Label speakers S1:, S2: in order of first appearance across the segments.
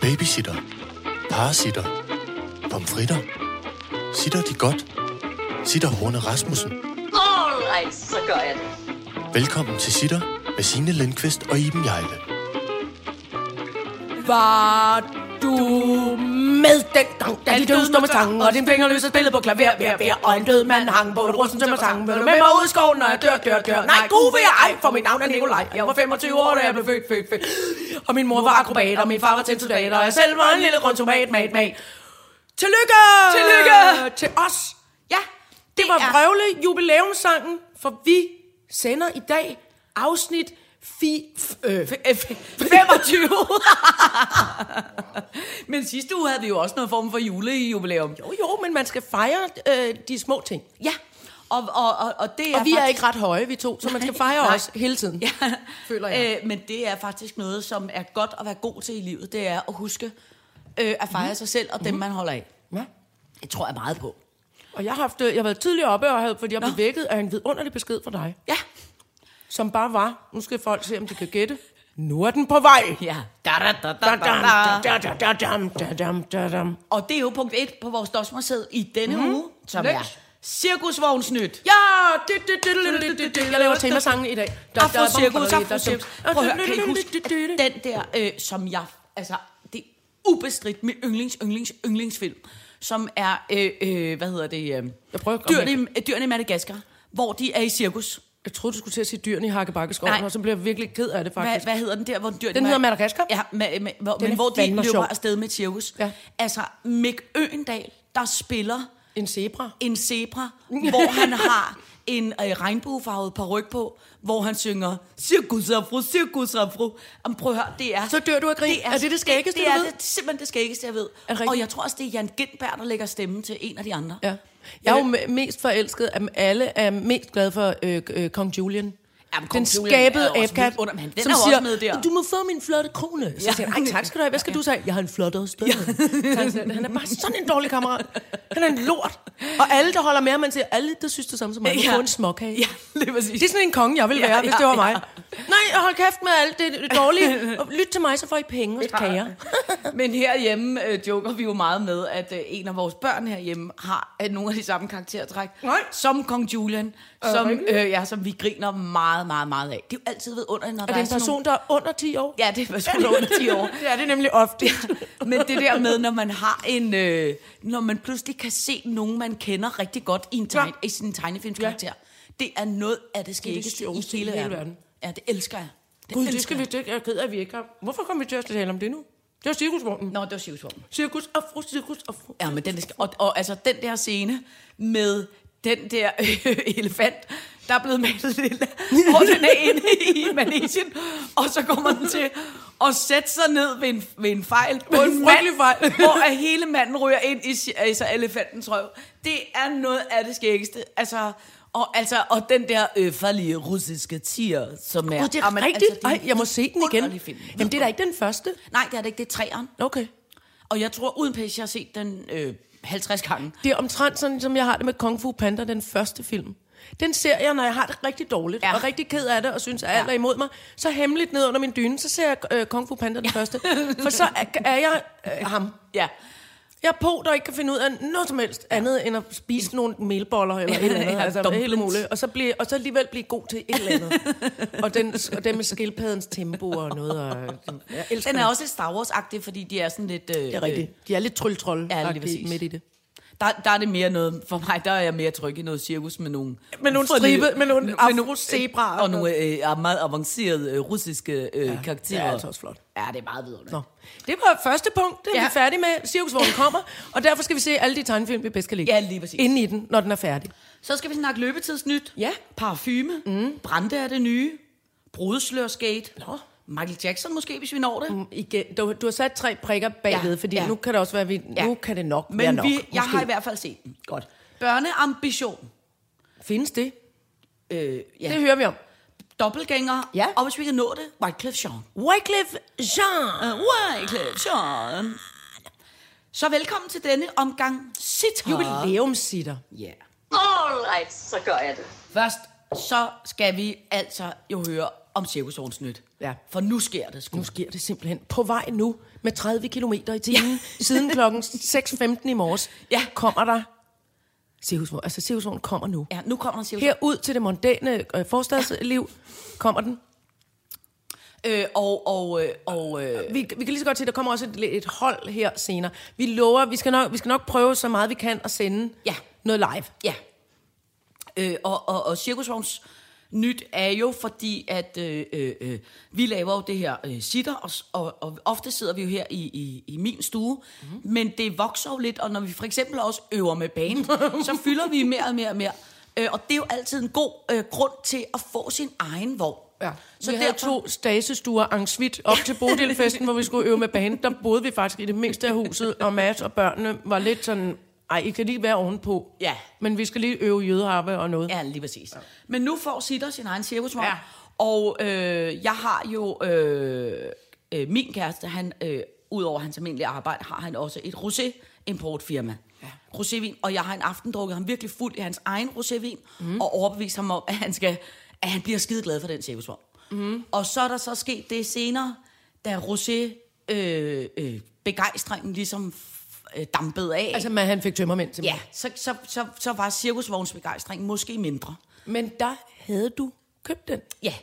S1: Babysitter. Parasitter. Pomfritter. Sitter de godt? Sitter Horne Rasmussen.
S2: Alright, så gør jeg det.
S1: Velkommen til Sitter med Signe Lindqvist og Iben Jejle.
S3: Var du med den gang, da de døde stod med tangen, og din fingerløse spillede på klaver, vær, vær, og en død mand hang på et russen tømmer tangen. Vil du med mig ud i skoven, når jeg dør, dør, dør? Nej, gud vil jeg ej, for mit navn er Nikolaj. Jeg var 25 år, da jeg blev født, født, født. Og min mor var akrobat, og min far var tændsoldat, og jeg selv var en lille grøn tomat, mat, mat. Tillykke!
S4: Tillykke!
S3: Til os. Ja, det var vrøvle jubilæumssangen, for vi sender i dag afsnit fi, f, øh, f, f, 25.
S4: Men sidste uge havde vi jo også noget form for julejubilæum.
S3: Jo, jo, men man skal fejre øh, de små ting.
S4: Ja, og, og, og, og det er
S3: Og vi er
S4: faktisk-
S3: ikke ret høje, vi to, så man skal fejre
S4: nej.
S3: os hele tiden. Ja. Føler jeg.
S4: Øh, men det er faktisk noget, som er godt at være god til i livet. Det er at huske øh, at
S3: Mhm.
S4: fejre mm. sig selv og dem, man holder af.
S3: Ja.
S4: Det tror jeg meget på.
S3: Og jeg har, haft, øh, jeg har været tidligere oppe, og havde, fordi jeg blev
S4: Nå.
S3: vækket af en vidunderlig besked fra dig,
S4: Ja.
S3: som bare var, nu skal folk se, om de kan gætte, nu er den på vej.
S4: Ja. Da, da, da, da, da,
S3: Da-dam,
S4: da.
S3: da-da, da-dam, da-dam, da-dam.
S4: Og det er jo punkt 1 på vores dosmersæd i denne
S3: Mhm.
S4: mm. uge, som
S3: Lykke.
S4: er cirkusvognsnyt.
S3: Ja, det, det, det, det, det, det, det. Jeg laver temasangen i dag.
S4: Afrocirkus, afrocirkus. Prøv at høre, kan I huske at den der, øh, som jeg, altså, det er ubestridt min yndlings, yndlings, yndlingsfilm, som er, øh, øh, hvad hedder det, øh,
S3: Jeg prøver at
S4: dyrene, i- øh, dyrene i Madagaskar, hvor de er i cirkus.
S3: Jeg troede, du skulle til at sige dyrene i Hakkebakkeskoven,
S4: Nej.
S3: og så blev jeg virkelig ked af det,
S4: Hvad,
S3: faktisk.
S4: hvad hedder den der, hvor dyrene...
S3: Den hedder Madagaskar?
S4: Ja, ma- ma- hvor,
S3: er
S4: men hvor de
S3: fandme
S4: løber
S3: sjov.
S4: afsted med et cirkus.
S3: Ja.
S4: Altså, Mick Øendal, der spiller
S3: En zebra.
S4: en zebra, hvor han har en øh, regnbuefarvet paryk på, hvor han synger cirkus afro, cirkus afro. Jamen, prøv at høre, det er...
S3: Så dør du af grin. Er det det skæggeste,
S4: det,
S3: du
S4: det
S3: ved?
S4: er det, simpelthen det skæggeste, jeg ved.
S3: det rigtigt?
S4: Og jeg tror også, det er Jan Gindberg, der lægger stemme til en af de andre.
S3: Ja. Jeg er jo me- mest forelsket af dem alle, er mest glad for øh, øh, Kong Julian.
S4: Jamen, Kong
S3: den
S4: Julian er
S3: skabede
S4: også
S3: abkat,
S4: vildt under- men den
S3: som
S4: er jo også
S3: siger,
S4: med der.
S3: du må få min flotte krone. Så
S4: Ja.
S3: siger han, "Ej, tak skal du have. Hvad skal du så have? Jeg har en flottere stød. han er bare sådan en dårlig kammerat. Han er en lort. Og alle, der holder med ham, man siger, alle, der synes det samme som mig, ja.
S4: Ja.
S3: få en småkage.
S4: Ja, det er præcis.
S3: Det er sådan en konge, jeg ville
S4: Ja,
S3: være, hvis
S4: ja,
S3: det var
S4: ja.
S3: mig. Nej, hold kæft med alt det dårlige. Og lyt til mig, så får I penge og kager.
S4: Men herhjemme øh, joker vi jo meget med, at øh, en af vores børn herhjemme har øh, nogle af de samme karaktertræk.
S3: Nej.
S4: Som Kong Julian, som,
S3: rigtigt?
S4: øh, ja, som vi griner meget, meget, meget af. Det er jo altid ved under, når
S3: Og det
S4: der
S3: er
S4: er
S3: en
S4: sådan
S3: person,
S4: nogle-
S3: der er under 10 år.
S4: Ja, det er en person der er under 10 år.
S3: Det er det nemlig ofte.
S4: Men det der med, når man har en... Øh, når man pludselig kan se nogen, man kender rigtig godt i, en tegne,
S3: Ja.
S4: i sin tegnefilmskarakter. Det er noget af det skæggeste i
S3: sjoveste
S4: hele verden. verden. Ja, det elsker jeg. Det
S3: Gud, det
S4: elsker
S3: skal vi
S4: jeg.
S3: det er jeg ked af, at vi ikke har. Hvorfor kom vi til at tale om det nu? Det var cirkusvognen.
S4: Nå, det var Sivsvognen.
S3: Cirkus afro, cirkus afro.
S4: Ja, men den skal, og, og altså den der scene med den der øh, elefant, der er blevet malet lille, og den er inde i manesien, og så kommer den til at sætte sig ned ved en, ved en fejl, på
S3: en frygtelig fejl.
S4: hvor at hele manden ryger ind i si- altså, elefantens røv. Det er noget af det skæggeste. Altså, og, altså, og den der øh, farlige russiske tiger, som er...
S3: Gud, det er
S4: Jamen,
S3: rigtigt.
S4: altså, det er en
S3: Ej, jeg må se den igen.
S4: underlig film.
S3: Jamen, det er da ikke den første.
S4: Nej, det er det ikke. Det er træeren.
S3: Okay.
S4: Og jeg tror, uden pæs, jeg har set den øh, 50 gange.
S3: Det er omtrent sådan, som jeg har det med Kung Fu Panda, den første film. Den ser jeg, når jeg har det rigtig dårligt, ja.
S4: Ja.
S3: og rigtig ked af det, og synes, at alt
S4: Ja.
S3: er imod mig. Så hemmeligt ned under min dyne, så ser jeg øh, Kung Fu Panda den første. For så er, er jeg øh, ham.
S4: Ja.
S3: Jeg er på, der ikke kan finde ud af noget som helst andet, end at spise nogle melboller eller et eller andet.
S4: Ja,
S3: altså, det er helt
S4: dumplings.
S3: muligt. Og så, blive, og så alligevel blive god til et eller andet. og, den, og den med skildpaddens tempo og noget. Og, jeg elsker
S4: Den er også lidt Star Wars-agtig, fordi de er sådan lidt... Øh,
S3: Det er rigtigt. De er lidt trylletrolle
S4: Ja, lige præcis.
S3: midt i det.
S4: øh, Der, der er det mere noget... For mig, der er jeg mere tryg i noget cirkus med nogle...
S3: Med nogle
S4: frygtelige-
S3: stribe- med nogle afrozebraer.
S4: Og nogle øh, er meget avancerede øh, russiske øh, ja, karakterer.
S3: det er altså også flot.
S4: Ja, det er meget vidunderligt.
S3: Nå. Det var første punkt, det er ja.
S4: Ja.
S3: vi færdige med. Cirkusvognen kommer, og derfor skal vi se alle de tegnefilm, vi bedst kan lide.
S4: Ja, lige præcis.
S3: Inden i den, når den er færdig.
S4: Så skal vi snakke løbetidsnyt.
S3: Ja.
S4: Parfume. Mm. Brande er det nye. Brudeslørskate.
S3: Nå.
S4: Michael Jackson måske, hvis vi når det. Mm.
S3: Igen, du, du har sat tre prikker bagved, ja,
S4: Ja,
S3: fordi ja.
S4: ja.
S3: nu kan det også være, vi, ja.
S4: Ja.
S3: nu kan det nok være
S4: Men
S3: nok.
S4: vi, jeg
S3: måske.
S4: har i hvert fald set den.
S3: Godt.
S4: Børneambition.
S3: Findes det?
S4: Øh, ja.
S3: Det hører vi om.
S4: Dobbeltgænger.
S3: Ja.
S4: Og hvis vi kan nå det, Wycliffe Jean.
S3: Wycliffe Jean.
S4: Wycliffe Sean. Så velkommen til denne omgang sit
S3: Jubilæumssitter.
S4: Ja.
S2: Alright, så gør jeg det.
S4: Først så skal vi altså jo høre om cirkusårens nyt.
S3: Ja.
S4: For nu sker det sgu.
S3: Nu sker det simpelthen på vej nu med 30 km i timen. Ja. Siden klokken 6.15 i morges
S4: Ja.
S3: kommer der Sehusvogn. Altså Sehusvogn kommer nu.
S4: Ja, nu kommer der cirkusårens
S3: Her ud til det mondæne øh, forstadsliv kommer den.
S4: Øh, og, og, øh, og, øh,
S3: Vi, vi kan lige så godt se, at der kommer også et, et hold her senere. Vi lover, vi skal, nok, vi skal nok prøve så meget vi kan at sende
S4: Ja.
S3: noget live.
S4: ja. Øh, og, og, og cirkusvogns nyt er jo fordi, at øh, øh, øh, vi laver jo det her øh, sitter, og, s- og, og ofte sidder vi jo her i, i, i min stue,
S3: Mhm.
S4: mm-hmm. men det vokser jo lidt, og når vi for eksempel også øver med banen, så fylder vi mere og mere og mere. Øh, og det er jo altid en god øh, grund til at få sin egen vogn.
S3: Så vi havde to stasestuer angsvit op til Bodilfesten, hvor vi skulle øve med band. Der boede vi faktisk i det mindste af huset, og Mads og børnene var lidt sådan, ej, I kan lige være ovenpå.
S4: Ja.
S3: Men vi skal lige øve jødeharpe og noget.
S4: Ja, lige præcis. Ja. Men nu får Sitter sin egen cirkusvogn,
S3: Ja.
S4: ja. og øh, jeg har jo øh, øh, min kæreste, han, øh, udover hans almindelige arbejde, har han også et rosé-importfirma. Ja. Rosévin, og jeg har en aften drukket ham virkelig fuld i hans egen rosévin, mm. og overbevist ham om, at han, skal, at han bliver skide glad for den cirkusvogn. Mm. Og så er der så sket det senere, da rosé-begejstringen ligesom f- øh, dampede af.
S3: Altså, man, han fik tømmermænd
S4: Ja,
S3: simpelthen.
S4: så, så, så, så var cirkusvognsbegejstringen måske mindre.
S3: Ja. Men der havde du købt den.
S4: Ja.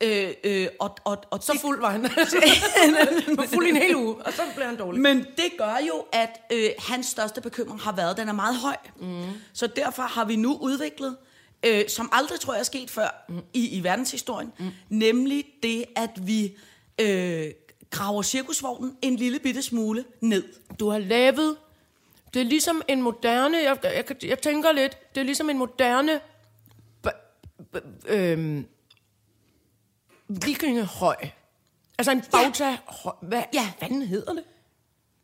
S4: Øh, øh, og, og, og
S3: Så fuld var han. var fuld i en hel uge, og så blev han dårlig.
S4: Men det gør jo, at øh, hans største bekymring har været, at den er meget høj. Mm. Så derfor har vi nu udviklet, øh, som aldrig tror jeg er sket før mm. i, i verdenshistorien, mm. nemlig det, at vi øh, graver cirkusvognen en lille bitte smule ned.
S3: Du har lavet... Det er ligesom en moderne... Jeg, jeg, jeg, jeg tænker lidt... Det er ligesom en moderne... b- b- Øhm, vikingehøj. Altså en bauta... Hvad,
S4: Ja.
S3: fanden hedder det?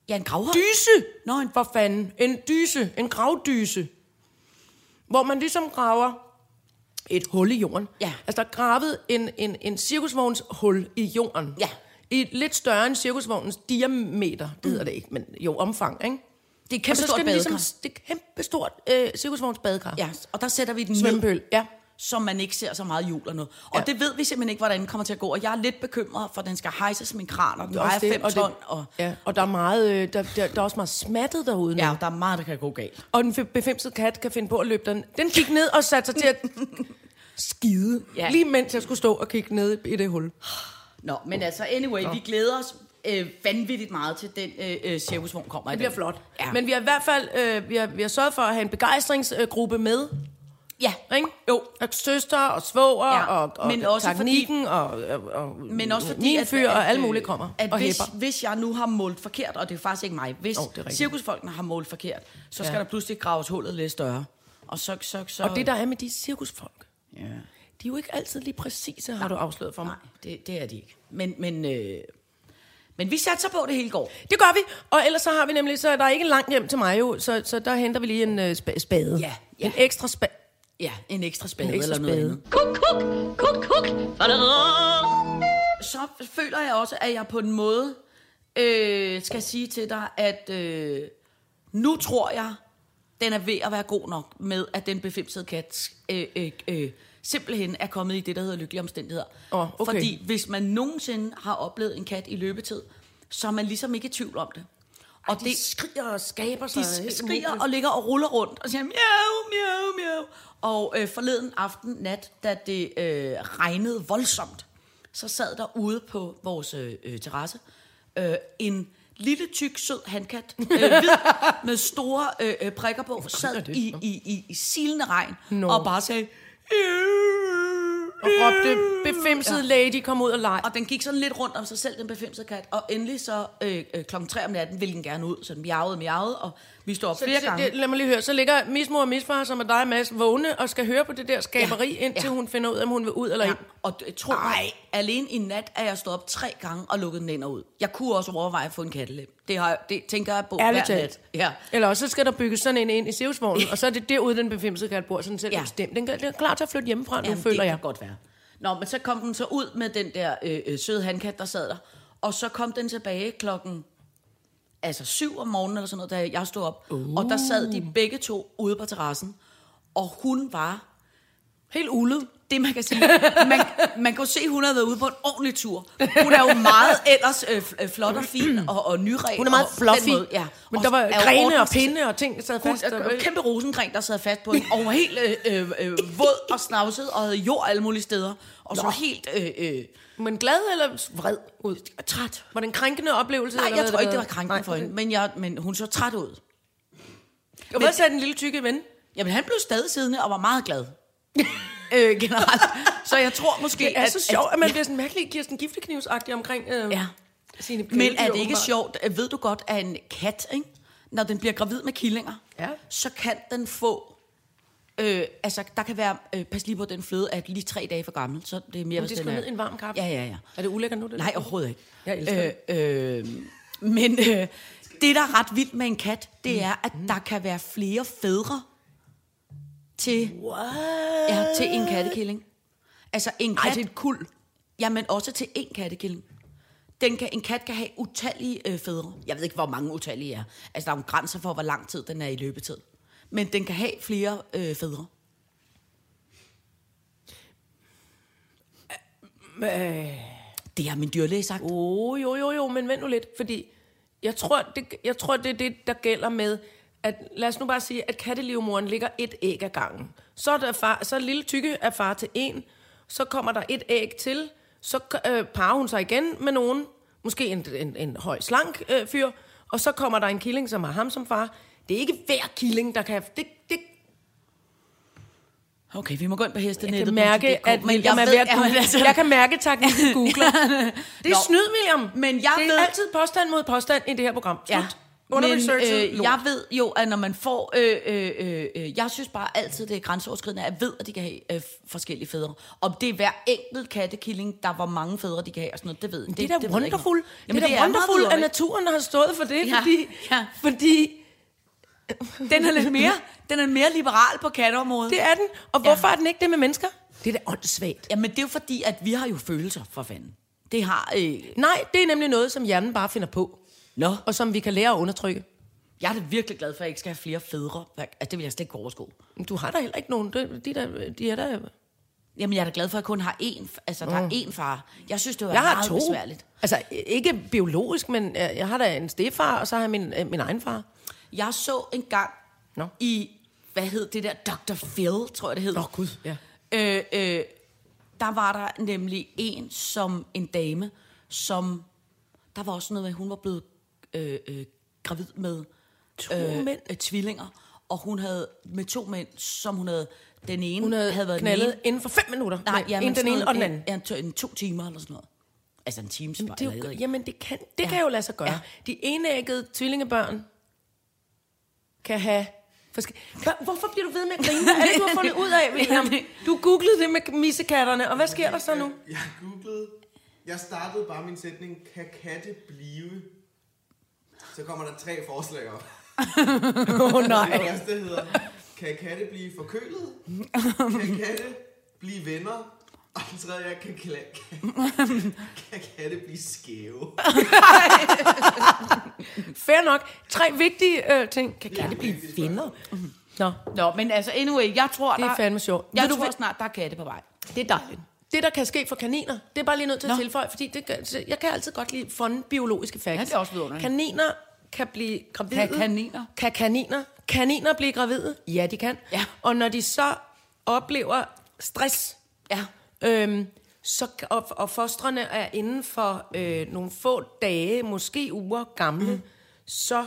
S4: Ja, en gravhøj.
S3: Dyse!
S4: Nå, en,
S3: For fanden. En dyse. En gravdyse. Hvor man ligesom graver et hul i jorden.
S4: Ja.
S3: Altså, der er gravet en, en, en cirkusvogns hul i jorden.
S4: Ja.
S3: I lidt større end cirkusvognens diameter. Det
S4: Mm.
S3: hedder det ikke, men jo omfang, ikke?
S4: det er et
S3: Og
S4: kæmpe
S3: så
S4: stort
S3: skal den
S4: badekar.
S3: ligesom, det er kæmpe stort øh, cirkusvogns badekar.
S4: Ja, og der sætter vi den ned.
S3: Svømmepøl, ja.
S4: som man ikke ser så meget jul og noget. Og
S3: Ja.
S4: ja. det ved vi simpelthen ikke, hvordan den kommer til at gå. Og jeg er lidt bekymret, for den skal hejses med en kran, og den vejer 5
S3: og,
S4: ton. Og,
S3: ja, og der, er meget, øh, der, der, der er også meget smattet derude nu.
S4: ja, der er meget, der kan gå galt.
S3: Og den fe- befimsede kat kan finde på at løbe den. Den gik ned og satte sig til at skide.
S4: Ja.
S3: Lige mens jeg skulle stå og kigge ned i det hul.
S4: Nå, men altså, anyway, vi glæder os øh, vanvittigt meget til den øh, øh, cirkusvogn kommer.
S3: Det bliver flot.
S4: Ja.
S3: Men vi har i hvert fald øh, vi har, vi har sørget for at have en begejstringsgruppe med.
S4: ja.
S3: Ikke?
S4: Jo.
S3: Og søster og svoger
S4: Ja,
S3: og, og
S4: men også fordi-
S3: teknikken og, og, og
S4: Men også fordi,
S3: min
S4: at-
S3: fyr
S4: at,
S3: og alle
S4: øh,
S3: mulige kommer
S4: At
S3: og
S4: hvis,
S3: hæpper.
S4: hvis jeg nu har målt forkert, og det er faktisk ikke mig, hvis
S3: Jo,
S4: oh,
S3: det er rigtigt.
S4: cirkusfolkene har målt forkert, så skal
S3: Ja.
S4: ja. der pludselig graves hullet lidt større. Og så, så, så...
S3: Og det der er med de cirkusfolk,
S4: Ja.
S3: de er jo ikke altid lige præcise, har du afsløret for mig.
S4: Nej, det, det er de ikke. Men, men, øh, men vi satser på, at det hele går.
S3: Det gør vi, og ellers så har vi nemlig, så er der ikke en lang hjem til mig jo, så, så der henter vi lige en øh, spa- spade.
S4: Ja, ja.
S3: En ekstra spade.
S4: Ja, en ekstra spade
S3: En ekstra
S4: eller noget
S3: spade.
S4: andet.
S2: Kuk, kuk, kuk, kuk. Fadadadada.
S4: Så føler jeg også, at jeg på en måde øh, skal sige til dig, at øh, nu tror jeg, den er ved at være god nok med, at den befimsede kat øh, øh, øh, simpelthen er kommet i det, der hedder lykkelige omstændigheder.
S3: Åh, okay.
S4: Fordi hvis man nogensinde har oplevet en kat i løbetid, så er man ligesom ikke i tvivl om det. Og
S3: De skriger og skaber sig.
S4: De
S3: helt
S4: sk-
S3: umuligt.
S4: skriger og ligger og ruller rundt og siger miau, miau, miau. Og øh, forleden aften nat, da det øh, regnede voldsomt, så sad der ude på vores øh, øh, terrasse øh, en lille, tyk, sød handkat øh, hvid, med store øh, øh, prikker på, sad
S3: det?
S4: i, i, i, i silende regn
S3: Nå.
S4: no. og bare sagde...
S3: Og råbte, befimsede lady, kom ud og leg.
S4: Og den gik sådan lidt rundt om sig selv, den befimsede kat. Og endelig så øh, øh, klokken 3 om natten ville den gerne ud, så den miavede, miavede, og vi står op flere
S3: Så- så-
S4: gange.
S3: Det, lad mig lige høre. Så ligger mismor og misfar, som er dig og Mads, vågne og skal høre på det der skaberi, ja. indtil ja.
S4: ja.
S3: hun finder ud af, om hun vil ud eller ja.
S4: Ja,
S3: ikke.
S4: og d- tro mig, alene i nat er jeg stået op tre gange og lukket den ind og ud. Jeg kunne også overveje at få en kattelem. Det, har, jeg- det tænker jeg på
S3: Ærligt
S4: hver
S3: talt.
S4: nat. Ja.
S3: Eller også så skal der bygges sådan en ind i Sivsvognen, og så er det derude, den befimsede kat bor, sådan selv ja.
S4: Ja.
S3: bestemt. Den er- den er klar til at flytte hjemmefra, nu
S4: Jamen, det
S3: føler
S4: kan
S3: jeg.
S4: godt være. Nå, men så kom den så ud med den der øh, øh, søde handkat, der sad der. Og så kom den tilbage klokken altså syv om morgenen eller sådan noget, da jeg stod op. Uh. Og der sad de begge to ude på terrassen. Og hun var
S3: Helt ulet.
S4: det, man kan sige. Man, man kan jo se, hun har været ude på en ordentlig tur. Hun er jo meget ellers øh, f- øh, flot og fin og, og nyren.
S3: Hun er meget
S4: og på den
S3: fluffy.
S4: måde, ja.
S3: Men
S4: Og
S3: der var
S4: er jo
S3: grene og
S4: ordentlig-
S3: pinde og ting, der sad
S4: Hun,
S3: fast. og-
S4: øh, kæmpe rosengren, der sad fast på hende, og hun var helt øh, øh, øh, våd og snavset, og havde jord alle mulige steder, og så helt øh, øh,
S3: Men glad eller vred ud?
S4: træt.
S3: Var det en krænkende oplevelse?
S4: Nej,
S3: eller
S4: jeg
S3: hvad
S4: tror ikke, det var
S3: Nej.
S4: krænkende for hende, men, jeg, men hun så træt ud.
S3: Og hvad sagde den lille tykke ven?
S4: Jamen, han blev stadig siddende og var meget glad. øh, generelt. Så jeg tror måske...
S3: Det er så sjovt, at man bliver sådan mærkelig Kirsten Gifteknivsagtig omkring øh,
S4: Ja.
S3: sine
S4: Men er
S3: kæledyr,
S4: det ikke
S3: åbenbart.
S4: sjovt? øh, Ved du godt, at en kat, ikke? når den bliver gravid med killinger,
S3: Ja.
S4: så kan den få... Øh, altså, der kan være... Øh, pas lige på, den fløde er lige tre dage for gammel, så det er mere...
S3: Men
S4: hvis
S3: det
S4: den
S3: skulle
S4: er-
S3: ned i en varm kaffe.
S4: Ja, ja, ja.
S3: Er det ulækkert nu? Det
S4: Nej, overhovedet ikke.
S3: Jeg elsker
S4: øh, øh, Men øh, det, der er ret vildt med en kat, det er, at der kan være flere fædre til,
S3: What?
S4: ja, til en kattekilling. Altså en kat...
S3: Ej, til et kul.
S4: Ja, men også til én kattekilling. Den kan, en kat kan have utallige øh, fædre. Jeg ved ikke, hvor mange utallige er. Altså, der er jo grænser for, hvor lang tid den er i løbetid. Men den kan have flere øh, fædre.
S3: Øh,
S4: Det har min dyrlæge sagt.
S3: Oh, jo, jo, jo, men vent nu lidt, fordi jeg tror, det, jeg tror, det er det, der gælder med, at lad os nu bare sige, at kattelivmoren ligger et æg ad gangen. Så er, der far, så er lille tykke af far til en, så kommer der et æg til, så øh, parer hun sig igen med nogen, måske en, en, en høj slank øh, fyr, og så kommer der en killing, som har ham som far. Det er ikke hver killing, der kan... Det, det,
S4: Okay, vi må gå ind på hestenettet.
S3: jeg kan mærke, at William er ved at google. Jeg kan mærke, tak, at du googler. Det er
S4: Nå.
S3: snyd, William.
S4: Men jeg
S3: det er
S4: ved-
S3: altid påstand mod påstand i det her program. Slut.
S4: Ja. Men
S3: Underresearchet
S4: øh,
S3: lort.
S4: jeg ved jo, at når man får... Øh, øh, øh, øh, jeg synes bare altid, det er grænseoverskridende. at Jeg ved, at de kan have øh, forskellige fædre. Om det er hver enkelt kattekilling, der hvor mange fædre de kan have og sådan noget, det ved jeg.
S3: det er da
S4: ved jeg ikke noget.
S3: wonderful.
S4: Jamen,
S3: det er da
S4: meget
S3: wonderful, at
S4: vidunderligt.
S3: naturen har stået for det,
S4: Ja,
S3: fordi,
S4: ja.
S3: fordi
S4: Den er lidt mere, den er mere liberal på katteområdet.
S3: det er den. Og hvorfor er den ikke det med mennesker? Det er da åndssvagt.
S4: Jamen, det er jo fordi, at vi har jo følelser, for fanden. Det har... Øh...
S3: Nej, det er nemlig noget, som hjernen bare finder på,
S4: Nå.
S3: og som vi kan lære at undertrykke.
S4: Jeg er da virkelig glad for, at jeg ikke skal have flere fædre. Altså, det vil jeg slet ikke kunne overskue.
S3: Men Du har da heller ikke nogen. De, de, der, de er der.
S4: Jamen, jeg er da glad for, at jeg kun har én, altså, der er én far. Jeg synes, det var
S3: Mm. Jeg
S4: meget
S3: har to.
S4: besværligt.
S3: Altså, ikke biologisk, men øh, jeg har da en stefar, og så har jeg min, øh, min egen far.
S4: Jeg så en gang
S3: Nå.
S4: i, hvad hed det der, Dr. Phil, tror jeg det hed.
S3: Nå, Gud, ja.
S4: Øh, øh, der var der nemlig en, som en dame, som, der var også noget med, at hun var blevet øh, øh, gravid med to
S3: mænd?
S4: Øh, tvillinger, og hun havde med to mænd, som hun havde, den ene
S3: Hun havde, havde
S4: havde været
S3: været
S4: den
S3: knaldet
S4: ene-
S3: inden for fem minutter.
S4: Nej,
S3: Men
S4: ja,
S3: en den ene og den anden.
S4: En, en, to, en to timer eller sådan noget. Altså en times
S3: Jamen, det, er jo,
S4: ikke.
S3: jamen, det, kan, det ja. kan
S4: Ja.
S3: jo lade sig gøre. Ja.
S4: Ja.
S3: De enæggede tvillingebørn kan have... Forske- Hva, hvorfor bliver du ved med at grine? Hvad er det, du har fundet ud af, William? Du googlede det med missekatterne, og hvad sker der så nu?
S5: Jeg googlede. Jeg startede bare min sætning, kan katte blive? Så kommer der tre forslag op.
S3: Åh oh,
S5: Det første hedder, kan katte blive forkølet? Kan katte blive venner? Og den tredje er, kan, kla- kan, kan katte blive skæve?
S3: Fair nok. Tre vigtige øh, ting. Kan, kan
S5: Ja.
S3: det blive venner? Nå,
S4: Nå, men altså anyway, jeg tror,
S3: det er fandme sjovt.
S4: Jeg
S3: Ved du
S4: tror
S3: hvad-
S4: snart, der er katte på vej.
S3: Det er dejligt. Det, der kan ske for kaniner, det er bare lige nødt til at
S4: Nå.
S3: tilføje, fordi det gør, så jeg kan altid godt lide funde biologiske facts.
S4: Ja, det er også vidunderligt.
S3: Kaniner kan blive gravide.
S4: Kan kaniner?
S3: Kan kaniner. Kaniner blive gravide? Ja, de kan.
S4: Ja.
S3: Og når de så oplever stress,
S4: Ja.
S3: øhm, så, og, og fostrene er inden for øh, nogle få dage, måske uger gamle, mm. så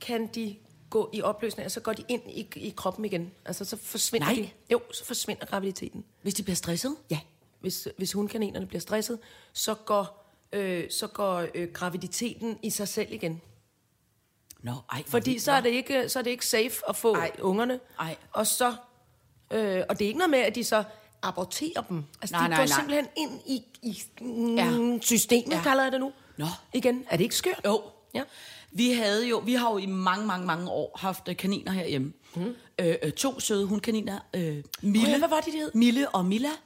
S3: kan de gå i opløsning, og så går de ind i, i kroppen igen. Altså, så forsvinder
S4: Nej.
S3: de. Jo, så forsvinder graviditeten.
S4: Hvis de bliver stresset?
S3: Ja, hvis, hvis hundkaninerne bliver stresset, så går, øh, så går øh, graviditeten i sig selv igen.
S4: Nå, ej. hvor
S3: Fordi
S4: vildt,
S3: så er
S4: hva'?
S3: det ikke, så er det ikke safe at få Ej.
S4: Ej.
S3: ungerne.
S4: Ej.
S3: Og så øh, og det er ikke noget med, at de så aborterer dem. Altså,
S4: Nej,
S3: de
S4: nej,
S3: går
S4: nej.
S3: simpelthen ind i, i ja.
S4: Ja.
S3: systemet, ja.
S4: Ja.
S3: kalder jeg det nu.
S4: Nå.
S3: Igen, er det ikke skørt?
S4: Jo.
S3: Ja.
S4: Vi havde jo, vi har jo i mange, mange, mange år haft øh, kaniner herhjemme. Mm. Øh, øh, to søde hundkaniner. Øh, Mille.
S3: ja, hvad var de, de hed?
S4: Mille og Milla.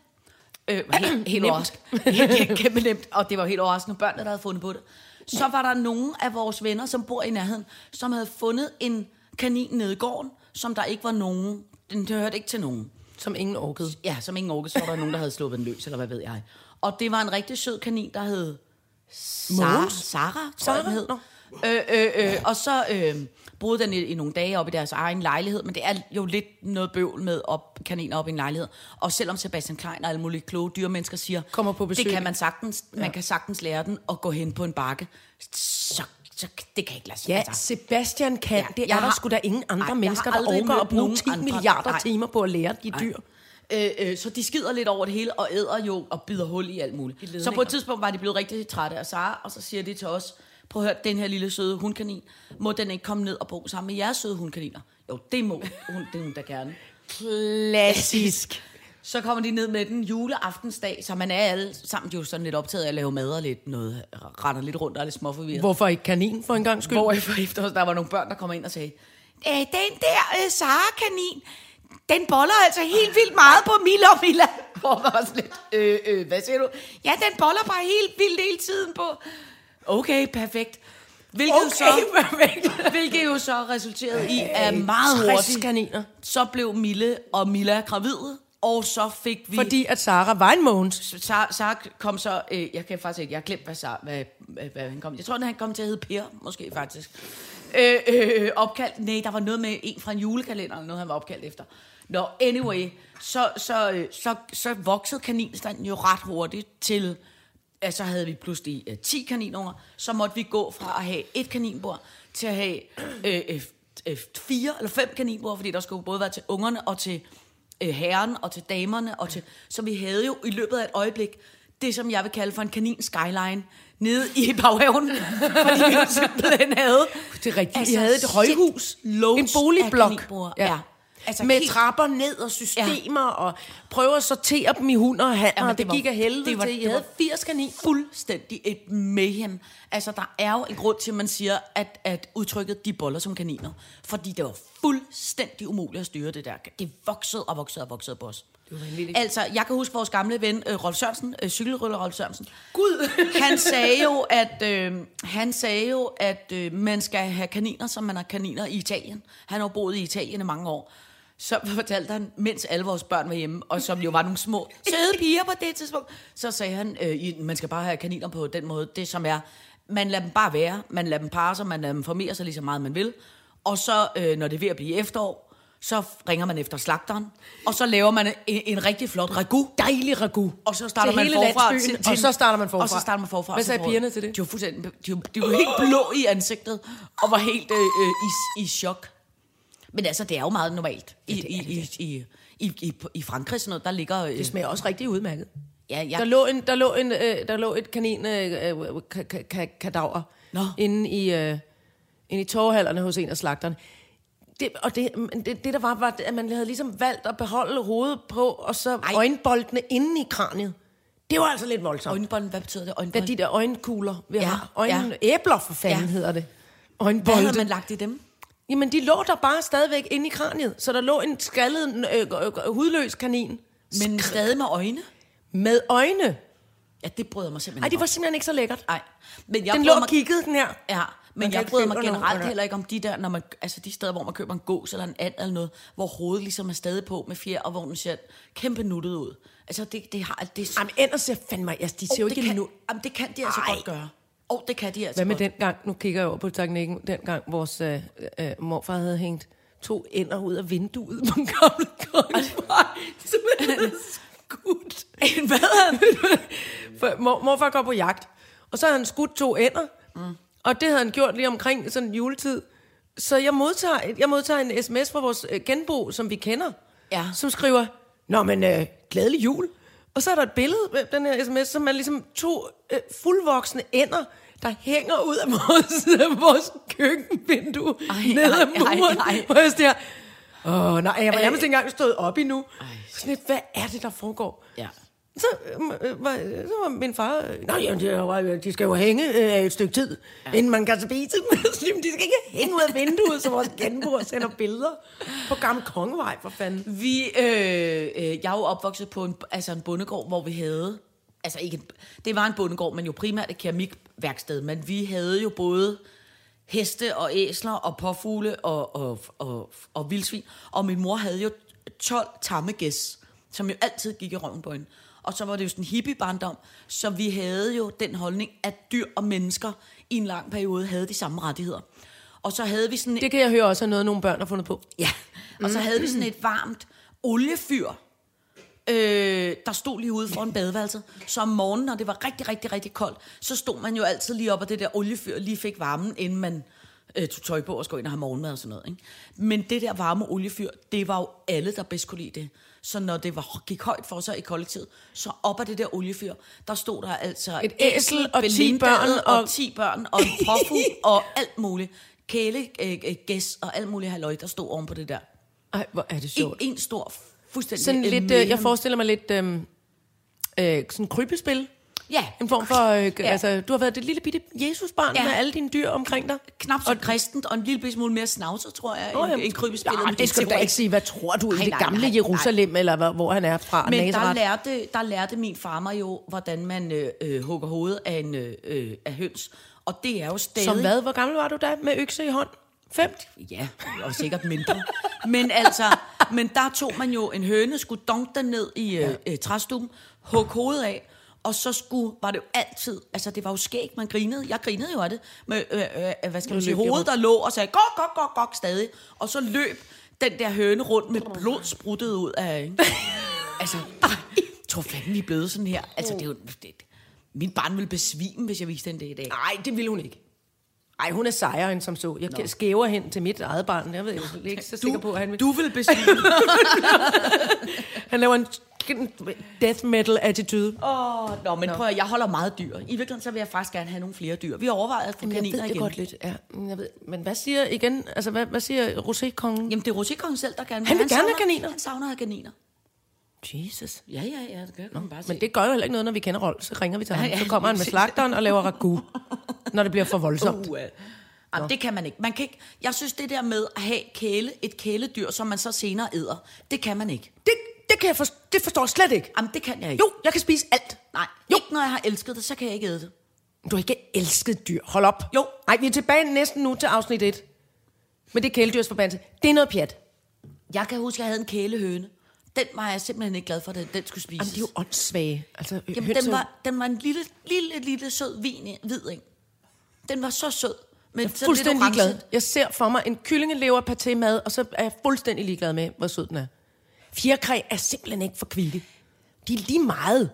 S4: Øh, helt, helt overraskende. helt, helt kæmpe nemt. Og det var jo helt overraskende, børnene, der havde fundet på det. Så var der nogen af vores venner, som bor i nærheden, som havde fundet en kanin nede i gården, som der ikke var nogen. Den hørte ikke til nogen.
S3: Som ingen orkede.
S4: Ja, som ingen orkede, så var der nogen, der havde sluppet den løs, eller hvad ved jeg. Og det var en rigtig sød kanin, der hed Sara,
S3: Mogens?
S4: Sara, tror
S3: Sara?
S4: jeg, den hed.
S3: Nå.
S4: Øh, øh, øh, og så øh, boede den i, i nogle dage oppe i deres egen lejlighed, men det er jo lidt noget bøvl med op, kaniner op i en lejlighed. Og selvom Sebastian Klein og alle mulige kloge dyrmennesker siger,
S3: Kommer på besøg.
S4: det kan man sagtens, man kan sagtens lære den at gå hen på en bakke, så, så det kan ikke lade sig.
S3: Ja,
S4: altså.
S3: Sebastian kan. Ja,
S4: Ja,
S3: det er
S4: jeg
S3: der
S4: har-
S3: sgu da ingen andre
S4: Nej,
S3: Ej,
S4: jeg
S3: mennesker,
S4: har
S3: der
S4: aldrig
S3: overgår at
S4: mødt
S3: bruge
S4: nogen
S3: 10 andre.
S4: andre.
S3: milliarder
S4: Nej.
S3: timer på at lære de dyr.
S4: Øh, øh, så de skider lidt over det hele og æder jo og bider hul i alt muligt. Så på et tidspunkt var de blevet rigtig trætte af Sara, og så siger de til os, prøv at høre, den her lille søde hundkanin, må den ikke komme ned og bo sammen med jeres søde hundkaniner? Jo, det må hun, det hun da gerne.
S3: Klassisk.
S4: Så kommer de ned med den juleaftensdag, så man er alle sammen jo sådan lidt optaget af at lave mad og lidt noget, render lidt rundt og er lidt småforvirret.
S3: Hvorfor ikke kanin for en gang skyld?
S4: Hvor efter, efter os, der var nogle børn, der kom ind og sagde, "Øh, den der øh, Sara-kanin, den boller altså helt vildt meget på Mila og Mila. Hvor man var sådan lidt, øh, øh, hvad siger du? Ja, den boller bare helt vildt hele tiden på. Okay, perfekt. Hvilket,
S3: Okay,
S4: så, hvilket jo så resulterede i, at meget
S3: 60
S4: hurtigt,
S3: kaniner.
S4: så blev Mille og Milla gravide, og så fik vi...
S3: Fordi at Sara var en Mogens.
S4: Sara, Sara kom så, øh, jeg kan faktisk ikke, jeg har glemt, hvad, Sara, hvad, hvad, hvad han kom. Jeg tror, han kom til at hedde Per, måske faktisk. Øh, øh, opkaldt, nej, der var noget med en fra en julekalender, eller noget, han var opkaldt efter. Nå, anyway, så, så, øh, så, så voksede kaninstanden jo ret hurtigt til, at så havde vi pludselig øh, 10 kaninunger, så måtte vi gå fra at have et kaninbord til at have øh, øh, øh, fire eller fem kaninbord, fordi der skulle både være til ungerne og til øh, herren og til damerne. Og til, så vi havde jo i løbet af et øjeblik det, som jeg vil kalde for en kanin skyline nede i baghaven, fordi vi jo simpelthen havde...
S3: Det er rigtigt. Altså, I havde et højhus.
S4: loads
S3: En
S4: af
S3: boligblok.
S4: kaninbord, Ja. ja.
S3: Altså, med helt... trapper ned og systemer, ja. og prøve at sortere dem i hunder og hanner, ja,
S4: Jamen,
S3: det, det gik af helvede det var, til. I
S4: det
S3: havde
S4: var
S3: 80 kanin.
S4: fuldstændig et mayhem. Altså, der er jo en grund til, at man siger, at, at udtrykket de boller som kaniner. Fordi det var fuldstændig umuligt at styre det der. Det voksede og voksede og voksede på os. Altså, jeg kan huske vores gamle ven, øh, Rolf Sørensen, øh, cykelrytter Rolf Sørensen. Gud! han sagde jo, at, øh, han sagde jo, at øh, man skal have kaniner, som man har kaniner i Italien. Han har jo boet i Italien i mange år. Så fortalte han, mens alle vores børn var hjemme, og som jo var nogle små søde piger på det tidspunkt, så sagde han, øh, I- man skal bare have kaniner på den måde. Det som er, man lader dem bare være, man lader dem parre sig, man lader dem formere sig lige så meget man vil. Og så, øh, når det er ved at blive efterår, så ringer man efter slagteren, og så laver man en, en rigtig flot ragu.
S3: Dejlig ragu.
S4: Og så starter
S3: Til
S4: man
S3: hele
S4: forfra.
S3: landsbyen, og så starter man forfra.
S4: Og så starter man forfra.
S3: Hvad
S4: Så
S3: sagde
S4: får-
S3: pigerne til det?
S4: De var, fuldstændig, de, var, de var helt blå i ansigtet, og var helt øh, øh, i, i chok. Men altså, det er jo meget normalt. I, i, i, i, i, i, i Frankrig sådan noget, der ligger... Øh,
S3: Det smager også rigtig udmærket.
S4: ja,
S3: Der
S4: ja,
S3: lå, en, der, lå en, øh, der lå et kanin øh, øh, ka- ka- ka- kadaver
S4: Nå.
S3: inde i, øh, inde i torvehallerne hos en af slagteren. Det, og det, men det, det, der var, var, at man havde ligesom valgt at beholde hovedet på, og så Ej. øjenboldene inde i kraniet. Det var altså lidt voldsomt.
S4: øjenbånd, hvad betyder det?
S3: Hvad
S4: Øjenbånd?
S3: de der øjenkugler, vi ja,
S4: Ja,
S3: har. Øjen, ja. Æbler for fanden ja.
S4: Ja.
S3: hedder det.
S4: hvad havde
S3: Øjenbolde.
S4: man lagt i dem?
S3: Jamen, de lå der bare stadigvæk inde i kraniet. Så der lå en skaldet, øh, øh, hudløs kanin.
S4: Men stadig med øjne?
S3: Med øjne.
S4: Ja, det bryder jeg mig simpelthen
S3: Ej, det
S4: om.
S3: var simpelthen ikke så lækkert.
S4: Nej. Men jeg
S3: Jeg den lå
S4: bryder
S3: og
S4: mig-
S3: kiggede, den her.
S4: Ja,
S3: Man
S4: men
S3: kan
S4: jeg
S3: ikke
S4: bryder mig
S3: finde nogen
S4: generelt
S3: under.
S4: heller ikke om de der, når man, altså de steder, hvor man køber en gås eller en and eller noget, hvor hovedet ligesom er stadig på med fjer, og hvor den ser kæmpe nuttet ud. Altså det, det har... Det,
S3: Jamen, ellers ser fandme... Altså, de ser jo
S4: oh,
S3: ikke
S4: det, kan,
S3: nu...
S4: jamen, det kan de altså
S3: Ej.
S4: godt gøre. Åh, oh, det kan de altså
S3: Hvad med
S4: godt.
S3: den gang, nu kigger jeg over på teknikken, den gang vores øh, øh, morfar havde hængt to ender ud af vinduet på en gammel kongsvej. Simpelthen skudt. En hvad For mor, morfar går på jagt, og så har han skudt to ender, mm. og det havde han gjort lige omkring sådan juletid. Så jeg modtager, jeg modtager en sms fra vores øh, genbo, som vi kender,
S4: Ja.
S3: som skriver, Nå, men øh, glædelig jul. Og så er der et billede med den her sms, som er ligesom to øh, fuldvoksne ender, der hænger ud af vores, af vores køkkenvindue
S4: Ej,
S3: ned ad
S4: ej, ej,
S3: muren.
S4: ej.
S3: Hvor jeg siger, åh nej, jeg var
S4: Ej.
S3: nærmest ikke engang stået op endnu. Sådan lidt, hvad er det, der foregår?
S4: Ja.
S3: Så, øh, øh, var, så var min far... Øh, Nej, jamen, de, var- de skal jo hænge øh, et stykke tid, ja. inden man kan spise dem. Så jamen, de skal ikke hænge ud af vinduet, så vores genbrug sender billeder på Gammel Kongevej, for fanden.
S4: Vi, øh, øh, jeg er jo opvokset på en, altså en bondegård, hvor vi havde... Altså ikke en, det var en bondegård, men jo primært et keramikværksted. Men vi havde jo både heste og æsler og påfugle og, og, og, og, vildsvin. Og min mor havde jo 12 tamme gæs, som jo altid gik i røven på hende. Og så var det jo sådan en hippie-barndom, så vi havde jo den holdning, at dyr og mennesker i en lang periode havde de samme rettigheder. Og så havde vi sådan
S3: Det kan jeg høre også er noget, nogle børn har fundet på.
S4: Ja, og så havde vi sådan et varmt oliefyr, øh, der stod lige ude foran badeværelset. Så om morgenen, når det var rigtig, rigtig, rigtig koldt, så stod man jo altid lige op, og det der oliefyr lige fik varmen, inden man øh, tog tøj på og skulle ind og have morgenmad og sådan noget. Ikke? Men det der varme oliefyr, det var jo alle, der bedst kunne lide det. Så når det var, gik højt for sig i kollektivet, så op af det der oliefyr, der stod der altså...
S3: Et æsel og ti
S4: belindaet
S3: børn
S4: og
S3: og-
S4: 10 børn og en profugl og alt muligt. Kæle, øh, øh, gæs og alt muligt halløj, der stod oven på det der.
S3: Ej, hvor er det
S4: En,
S3: sjovt.
S4: en stor, fuldstændig...
S3: Sådan
S4: øh,
S3: lidt, øh, jeg forestiller mig lidt øh, øh, sådan krybespil.
S4: Ja,
S3: En form for, øh, ja.
S4: Ja.
S3: altså, du har været det lille bitte Jesusbarn ja.
S4: Ja.
S3: med alle dine dyr omkring dig.
S4: knap så kristent og en lille bitte smule mere snavset, tror jeg,
S3: Nå,
S4: oh, end,
S3: jamen,
S4: end krybespillet.
S3: Ja,
S4: men
S3: det skal du da
S4: teori.
S3: ikke sige. Hvad tror du i
S4: Nej,
S3: det
S4: nej,
S3: gamle
S4: nej, nej.
S3: Jerusalem, eller hvor, hvor han er fra?
S4: Men der
S3: Nazareth?
S4: lærte, der lærte min far mig jo, hvordan man øh, øh, hugger hovedet af en øh, øh, af høns. Og det er jo stadig...
S3: Som hvad? Hvor gammel var du da med økse i hånd? Fem?
S4: Ja, og sikkert mindre. men altså, men der tog man jo en høne, skulle donke den ned i ja. øh, træstuben, hugge hovedet af, og så skulle, var det jo altid, altså det var jo skægt, man grinede, jeg grinede jo af det, med, øh, øh, hvad skal man sige,
S3: løb de
S4: hovedet der lå og sagde, gok, gok, gok, gok, stadig, og så løb den der høne rundt med blod spruttet ud af, ikke? altså, ej, jeg tror fanden, vi er blevet sådan her. Altså, det er jo,
S3: Mm.
S4: det, min barn ville besvime, hvis jeg viste den det i dag.
S3: Nej, det ville hun ikke. Nej, hun er sejere end som så. Jeg Nå. skæver hen til mit eget barn. Jeg ved jo ikke så sikker på, at han vil.
S4: Du ville besvime.
S3: Han laver en death metal attitude.
S4: Åh, nå, men prøv at, jeg holder meget dyr. I virkeligheden, så vil jeg faktisk gerne have nogle flere dyr. Vi overvejer at få kaniner
S3: jeg ved det
S4: igen.
S3: godt lidt. Ja, men jeg ved. Men hvad siger igen? Altså, hvad, hvad siger Rosé-kongen?
S4: Jamen, det er Rosikong selv, der gerne vil.
S3: Han vil gerne have
S4: savner-
S3: kaniner.
S4: Han savner at have kaniner.
S3: Jesus.
S4: Ja, ja, ja, det kan man bare se.
S3: Men det gør jo heller ikke noget, når vi kender Rolf. Så ringer vi til
S4: Ja,
S3: ham.
S4: ja,
S3: Så kommer han med
S4: præcis.
S3: slagteren og laver ragu. Når det bliver for voldsomt.
S4: Uh, Jamen, det kan man ikke. Man kan ikke. Jeg synes, det der med at have kæle, et kæledyr, som man så senere æder, det kan man ikke.
S3: Det, det, kan jeg for, det forstår jeg slet ikke.
S4: Jamen, det kan jeg ikke.
S3: Jo, jeg kan spise alt.
S4: Nej,
S3: Jo.
S4: jo. ikke når jeg har elsket det, så kan jeg ikke æde det.
S3: Du har ikke elsket dyr. Hold op.
S4: Jo.
S3: Nej, vi er tilbage næsten nu til afsnit 1. Men det kæledyrsforbandelse. Det er noget pjat.
S4: Jeg kan huske, at jeg havde en kælehøne. Den var jeg simpelthen ikke glad for, at den skulle spises.
S3: Jamen, de er jo åndssvage. Altså,
S4: Jamen, den var, den var en lille, lille, lille sød vin, hvid, ikke? Den var så sød. Men
S3: jeg er fuldstændig ligeglad. Jeg ser for mig en kyllingelever paté mad, og så er jeg fuldstændig ligeglad med, hvor sød den er. Fjerkræ er simpelthen ikke for kvikke. De er lige meget.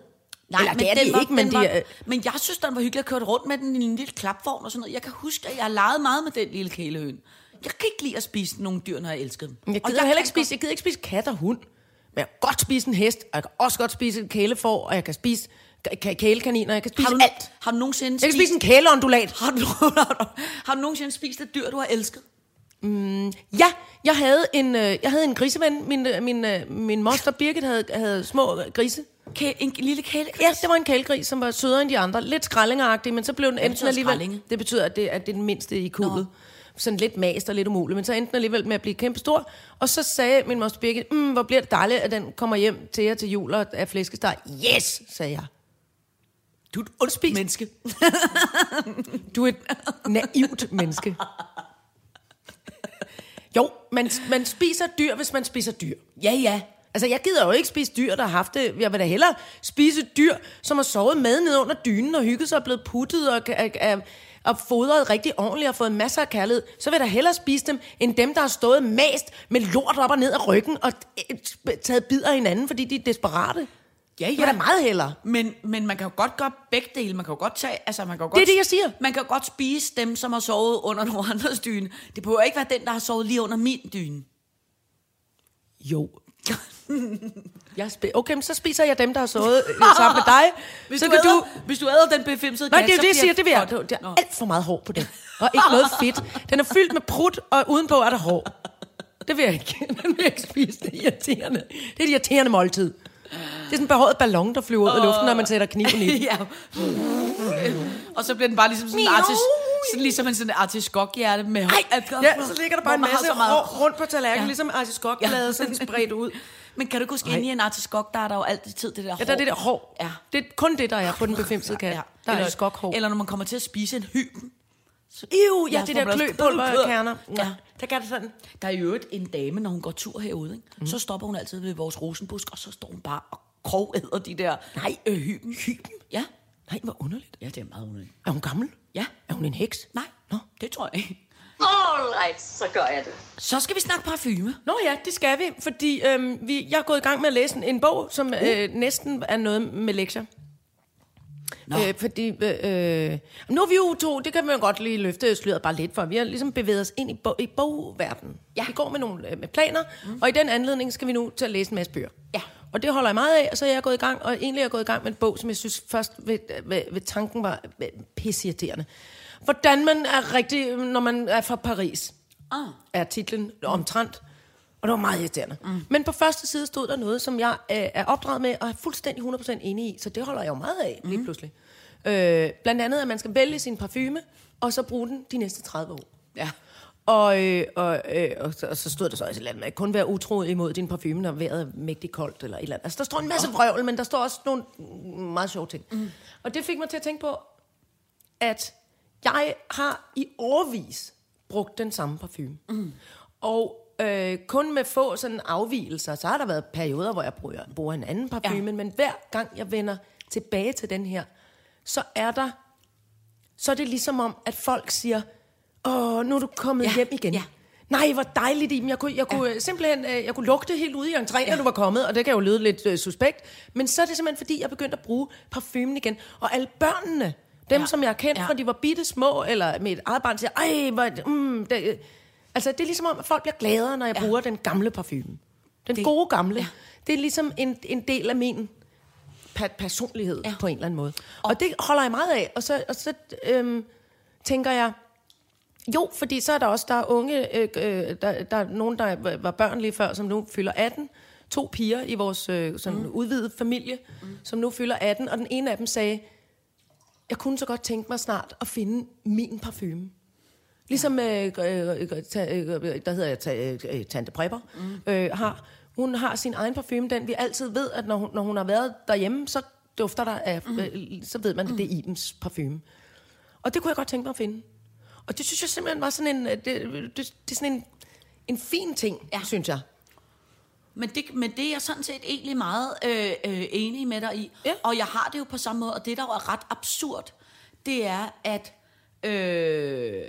S4: Nej,
S3: Eller,
S4: men
S3: det er
S4: den
S3: de
S4: var,
S3: ikke, men
S4: den
S3: de
S4: var,
S3: er- øh-
S4: Men jeg synes, den var hyggelig. Jeg kørte rundt med den i en lille klapvogn og sådan noget. Jeg kan huske, at jeg legede meget med den lille kælehøn. Jeg kan ikke lide at spise nogle dyr, når jeg elsker dem.
S3: Men Jeg
S4: Og
S3: gider heller
S4: kan
S3: ikke spise, jeg gider ikke spise kat og hund. Men jeg kan godt spise en hest, og jeg kan også godt spise en kælefor, og jeg kan spise ka- ka- kælekaniner, og jeg kan
S4: godt-
S3: spise
S4: Har du,
S3: alt.
S4: Har du nogensinde
S3: Jeg kan spise
S4: spist...
S3: en kæleondulat.
S4: Har du, har, du, har du nogensinde spist et dyr, du har elsket?
S3: Ja, jeg havde en, øh, jeg havde en griseven. Min, øh, min, øh, min moster Birgit havde, havde små øh, grise.
S4: Kæ, en lille kæle?
S3: Ja, det var en kælegris, som var sødere end de andre. Lidt skrællingeragtig, men så blev den enten
S4: betyder
S3: alligevel...
S4: skrællinge?
S3: Det betyder, at det, at det er den mindste i kuldet. Sådan lidt mast og lidt umulig, men så endte den alligevel med at blive kæmpestor. Og så sagde min moster Birgit, mm, hvor bliver det dejligt, at den kommer hjem til jer til jul og er flæskesteg. Yes, sagde jeg.
S4: Du er et ondt menneske.
S3: Du er et naivt menneske. Jo, man, man spiser dyr, hvis man spiser dyr.
S4: Ja, ja.
S3: Altså, jeg gider jo ikke spise dyr, der har haft det. Jeg vil da hellere spise et dyr, som har sovet med ned under dynen og hygget sig og blevet puttet og, og, og, og fodret rigtig ordentligt og fået masser af kærlighed. Så vil jeg da hellere spise dem, end dem, der har stået mast med lort op og ned af ryggen og øh, sp- taget bidder af hinanden, fordi de er desperate.
S4: Ja,
S3: Jeg vil da meget hellere.
S4: Men, men man kan jo godt gøre begge dele. Man kan jo godt tage, altså man kan jo godt,
S3: Det er det, jeg siger.
S4: Man kan jo godt spise dem, som har sovet under nogle andres dyne. Det behøver ikke være den, der har sovet lige under min dyne.
S3: Jo. Jeg spi- okay, men så spiser jeg dem, der har sovet øh, sammen med dig.
S4: Hvis
S3: så
S4: du
S3: kan
S4: æder,
S3: du
S4: Hvis du æder den befimsede
S3: Nej,
S4: kat,
S3: det er jo
S4: så
S3: det, jeg siger.
S4: bliver
S3: Det vil jeg.
S4: godt.
S3: Det er
S4: Nå.
S3: alt for meget hår på den. Og ikke noget fedt. Den er fyldt med prut, og udenpå er der hår. Det vil jeg ikke. Den vil jeg ikke spise. Det er irriterende. Det er et irriterende måltid. Det er sådan en behåret ballon, der flyver ud af luften, når man sætter kniven i.
S4: ja. Og så bliver den bare ligesom sådan en
S3: Miau.
S4: artis, sådan ligesom en sådan artiskokhjerte med hår.
S3: Ja, så ligger der bare en
S4: Hvor man har
S3: masse
S4: så meget-
S3: hår rundt på tallerkenen, ja.
S4: Ja.
S3: ligesom artiskokblade ja. sådan spredt ud.
S4: Men kan du ikke huske, inde i en artiskok, der er der jo altid det der hår.
S3: Ja, der er det der hår.
S4: Ja.
S3: Det er kun det, der er på den befimsede kat. Der er
S4: eller,
S3: skokhår.
S4: Eller når man kommer til at spise en hyben,
S3: Ew, ja,
S4: Jeg
S3: det
S4: får
S3: der
S4: blad-
S3: kløpulverkerner.
S4: Ja.
S3: Ja, der gør det sådan.
S4: Der er jo øvrigt en dame, når hun går tur herude, ikke? Mm. så stopper hun altid ved vores rosenbusk, og så står hun bare og krovæder de der
S3: Nej, øh, hyben. Hyben?
S4: Ja.
S3: Nej, hvor underligt.
S4: Ja, det er meget underligt.
S3: Er hun gammel?
S4: Ja.
S3: Er hun en heks?
S4: Nej,
S3: Nå.
S4: det tror jeg ikke.
S2: All right, så gør jeg det.
S4: Så skal vi snakke parfume.
S3: Nå ja, det skal vi, fordi øhm, vi, jeg er gået i gang med at læse en- en bog, som øh, næsten er noget med lektier.
S4: Nå.
S3: Øh, fordi, øh, øh, nu er vi jo to, det kan man jo godt lige løfte sløret bare lidt for. Vi har ligesom bevæget os ind i, bog, i bogverdenen. Ja. Vi går med nogle øh, med planer, mm. og i den anledning skal vi nu til at læse en masse bøger.
S4: Ja.
S3: Og det holder jeg meget af, og så er jeg gået i gang, og egentlig er jeg gået i gang med en bog, som jeg synes først ved, ved, ved tanken var øh, pisseirriterende. Hvordan man er rigtig, når man er fra Paris
S4: Ah.
S3: er titlen omtrent. Og det var meget irriterende. Mm. Men på første side stod der noget, som jeg øh, er opdraget med, og er fuldstændig 100% enig i, så det holder jeg jo meget af mm. lige pludselig. Øh, blandt andet, at man skal vælge sin parfume, og så bruge den de næste 30 år.
S4: Ja.
S3: Og, øh, og, øh, og, så, og så stod der så også et eller andet med, kun være utro imod din parfume, når vejret er mægtig koldt, eller et eller andet. Altså, der står en masse vrøvl, men der står også nogle mm, meget sjove ting. Mm. Og det fik mig til at tænke på, at jeg har i årvis brugt den samme parfume. Mm. Og øh, kun med få sådan afvielser, så har der været perioder, hvor jeg bruger, bruger en anden parfume, ja. men hver gang jeg vender tilbage til den her, så er der så er det ligesom om, at folk siger, åh, nu er du kommet
S4: Ja,
S3: ja. hjem igen.
S4: ja.
S3: Ja. Nej, hvor dejligt, Iben. Jeg kunne, jeg kunne ja. simpelthen øh, jeg kunne lugte helt ude i entréen, ja. når du var kommet, og det kan jo lyde lidt øh, suspekt. Men så er det simpelthen, fordi jeg begyndte at bruge parfumen igen. Og alle børnene, dem
S4: Ja.
S3: ja. som jeg har kendt,
S4: Ja.
S3: ja. fra de var bitte små, eller mit eget barn siger, ej, hvor... er det- Mm, det, øh." altså, det er ligesom om, at folk bliver gladere, når jeg
S4: Ja.
S3: ja. bruger den gamle parfume. Den
S4: Det-
S3: det, gode gamle.
S4: ja.
S3: Ja. Det er ligesom en, en del af min per- personlighed
S4: Ja.
S3: ja. på en eller anden måde. Og, og det holder jeg meget af. Og så, og så øhm, tænker jeg, jo, fordi så er der også der er unge, øh, øh, der, der er nogen, der var- var børn lige før, som nu fylder 18. To piger i vores øh, sådan mm. udvidede familie, mm. som nu fylder 18. Og den ene af dem sagde, jeg kunne så godt tænke mig snart at finde min parfume. Ligesom, øh, øh, øh, ta- øh, der hedder jeg ta- øh, øh, Tante Prepper,
S4: Mm.
S3: øh, har. Hun har sin egen parfume, den vi altid ved, at når hun, når hun har været derhjemme, så dufter der af,
S4: Mm.
S3: øh, så ved man, at det er Ibens parfume. Og det kunne jeg godt tænke mig at finde. Og det synes jeg simpelthen var sådan en, øh, det, det, det er sådan en, en fin ting,
S4: Ja.
S3: ja. synes jeg.
S4: Men det, men det er jeg sådan set egentlig meget øh, øh, enig med dig i.
S3: Ja.
S4: Og jeg har det jo på samme måde, og det, der jo er ret absurd, det er, at øh,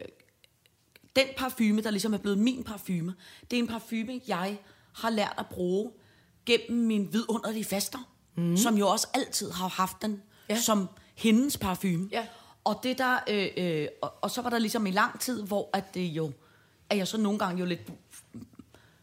S4: den parfume, der ligesom er blevet min parfume, det er en parfume, jeg har lært at bruge gennem min vidunderlige faster, mm. som jo også altid har haft den ja.
S3: Mhm. Ja.
S4: som hendes parfume.
S3: Ja.
S4: Og, det der, øh, øh, og, og så var der ligesom i lang tid, hvor at det jo, at jeg så nogle gange jo lidt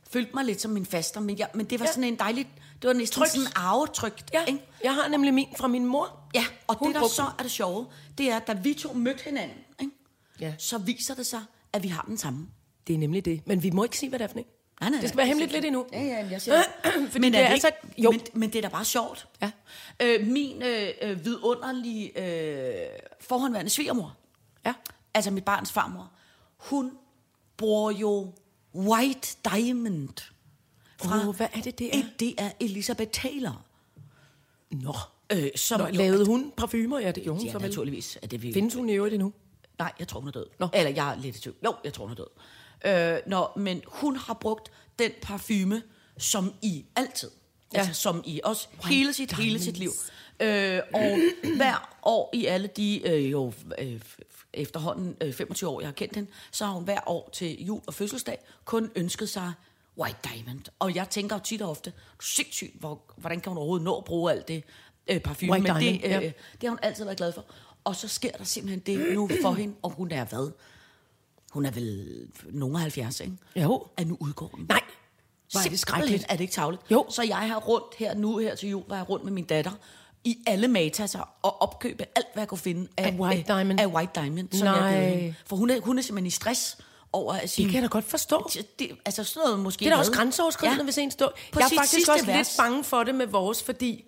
S4: følte mig lidt som min faster, men, jeg, men det var ja.
S3: Ja.
S4: sådan en dejlig, det var næsten Tryk.
S3: Trygt.
S4: sådan arvetrygt.
S3: Ja.
S4: Ikke?
S3: Jeg har nemlig min fra min mor.
S4: ja. Og
S3: Hun
S4: det, der
S3: brugte
S4: så er det sjove, det er, at da vi to mødte hinanden, ikke?
S3: Ja.
S4: så viser det sig, at vi har den samme.
S3: Det er nemlig det. Men vi må ikke sige, hvad det er for en.
S4: Nej, nej,
S3: det skal
S4: nej,
S3: være hemmeligt
S4: det-
S3: lidt endnu.
S4: Ja, ja, men jeg siger
S3: Fordi men det er, altså...
S4: ikke,
S3: Jo,
S4: Men, men det er da bare sjovt.
S3: Ja.
S4: Øh, min øh, øh, vidunderlige øh, forhåndværende svigermor,
S3: ja.
S4: altså mit barns farmor, hun bruger jo White Diamond.
S3: Fra, hvad er det, det er?
S4: Et, det er Elisabeth Taylor.
S3: Nå.
S4: Øh, som
S3: Nå,
S4: jo-
S3: lavede hun parfumer? Ja, det gjorde hun
S4: Øh, Ja,
S3: så vel.
S4: naturligvis. Er det vi...
S3: Findes hun i øvrigt endnu?
S4: Nej, jeg tror, hun er død. Nå.
S3: Nå.
S4: Eller jeg er lidt i tvivl. Jo, jeg tror, hun er død. Øh, nå, men hun har brugt den parfume, som I altid. Ja.
S3: Ja.
S4: Altså, som I også hele sit, hele sit liv. Øh, og hver år i alle de øh, jo, øh, efterhånden øh, 25 år, jeg har kendt hende, så har hun hver år til jul og fødselsdag kun ønsket sig White Diamond. Og jeg tænker jo tit og ofte, sindssygt, hvor, hvordan kan hun overhovedet nå at bruge alt det øh, parfume?
S3: White
S4: men det,
S3: Diamond,
S4: øh,
S3: ja.
S4: det har hun altid været glad for. Og så sker der simpelthen det nu for hende, og hun er hvad? Hun er vel nogen af 70, ikke?
S3: Jo.
S4: At nu udgår den.
S3: Nej. Hvor er
S4: Simpelthen altså,
S3: det skrækkeligt.
S4: Er det ikke tavlet?
S3: Jo.
S4: Så jeg har rundt her nu, her til jul, var jeg rundt med min datter i alle matasser og opkøbe alt, hvad jeg kunne finde af,
S3: Af White Diamond?
S4: Af White Diamond, som
S3: Nej.
S4: jeg gav hende. For hun er, hun er simpelthen i stress over at sige...
S3: Det kan jeg da godt forstå.
S4: Det, det, altså sådan noget måske...
S3: Det er da
S4: hvad?
S3: også grænseoverskridende, ja. hvis en står...
S4: På
S3: jeg er
S4: sit
S3: faktisk
S4: sidste
S3: også
S4: vers.
S3: lidt bange for det med vores, fordi...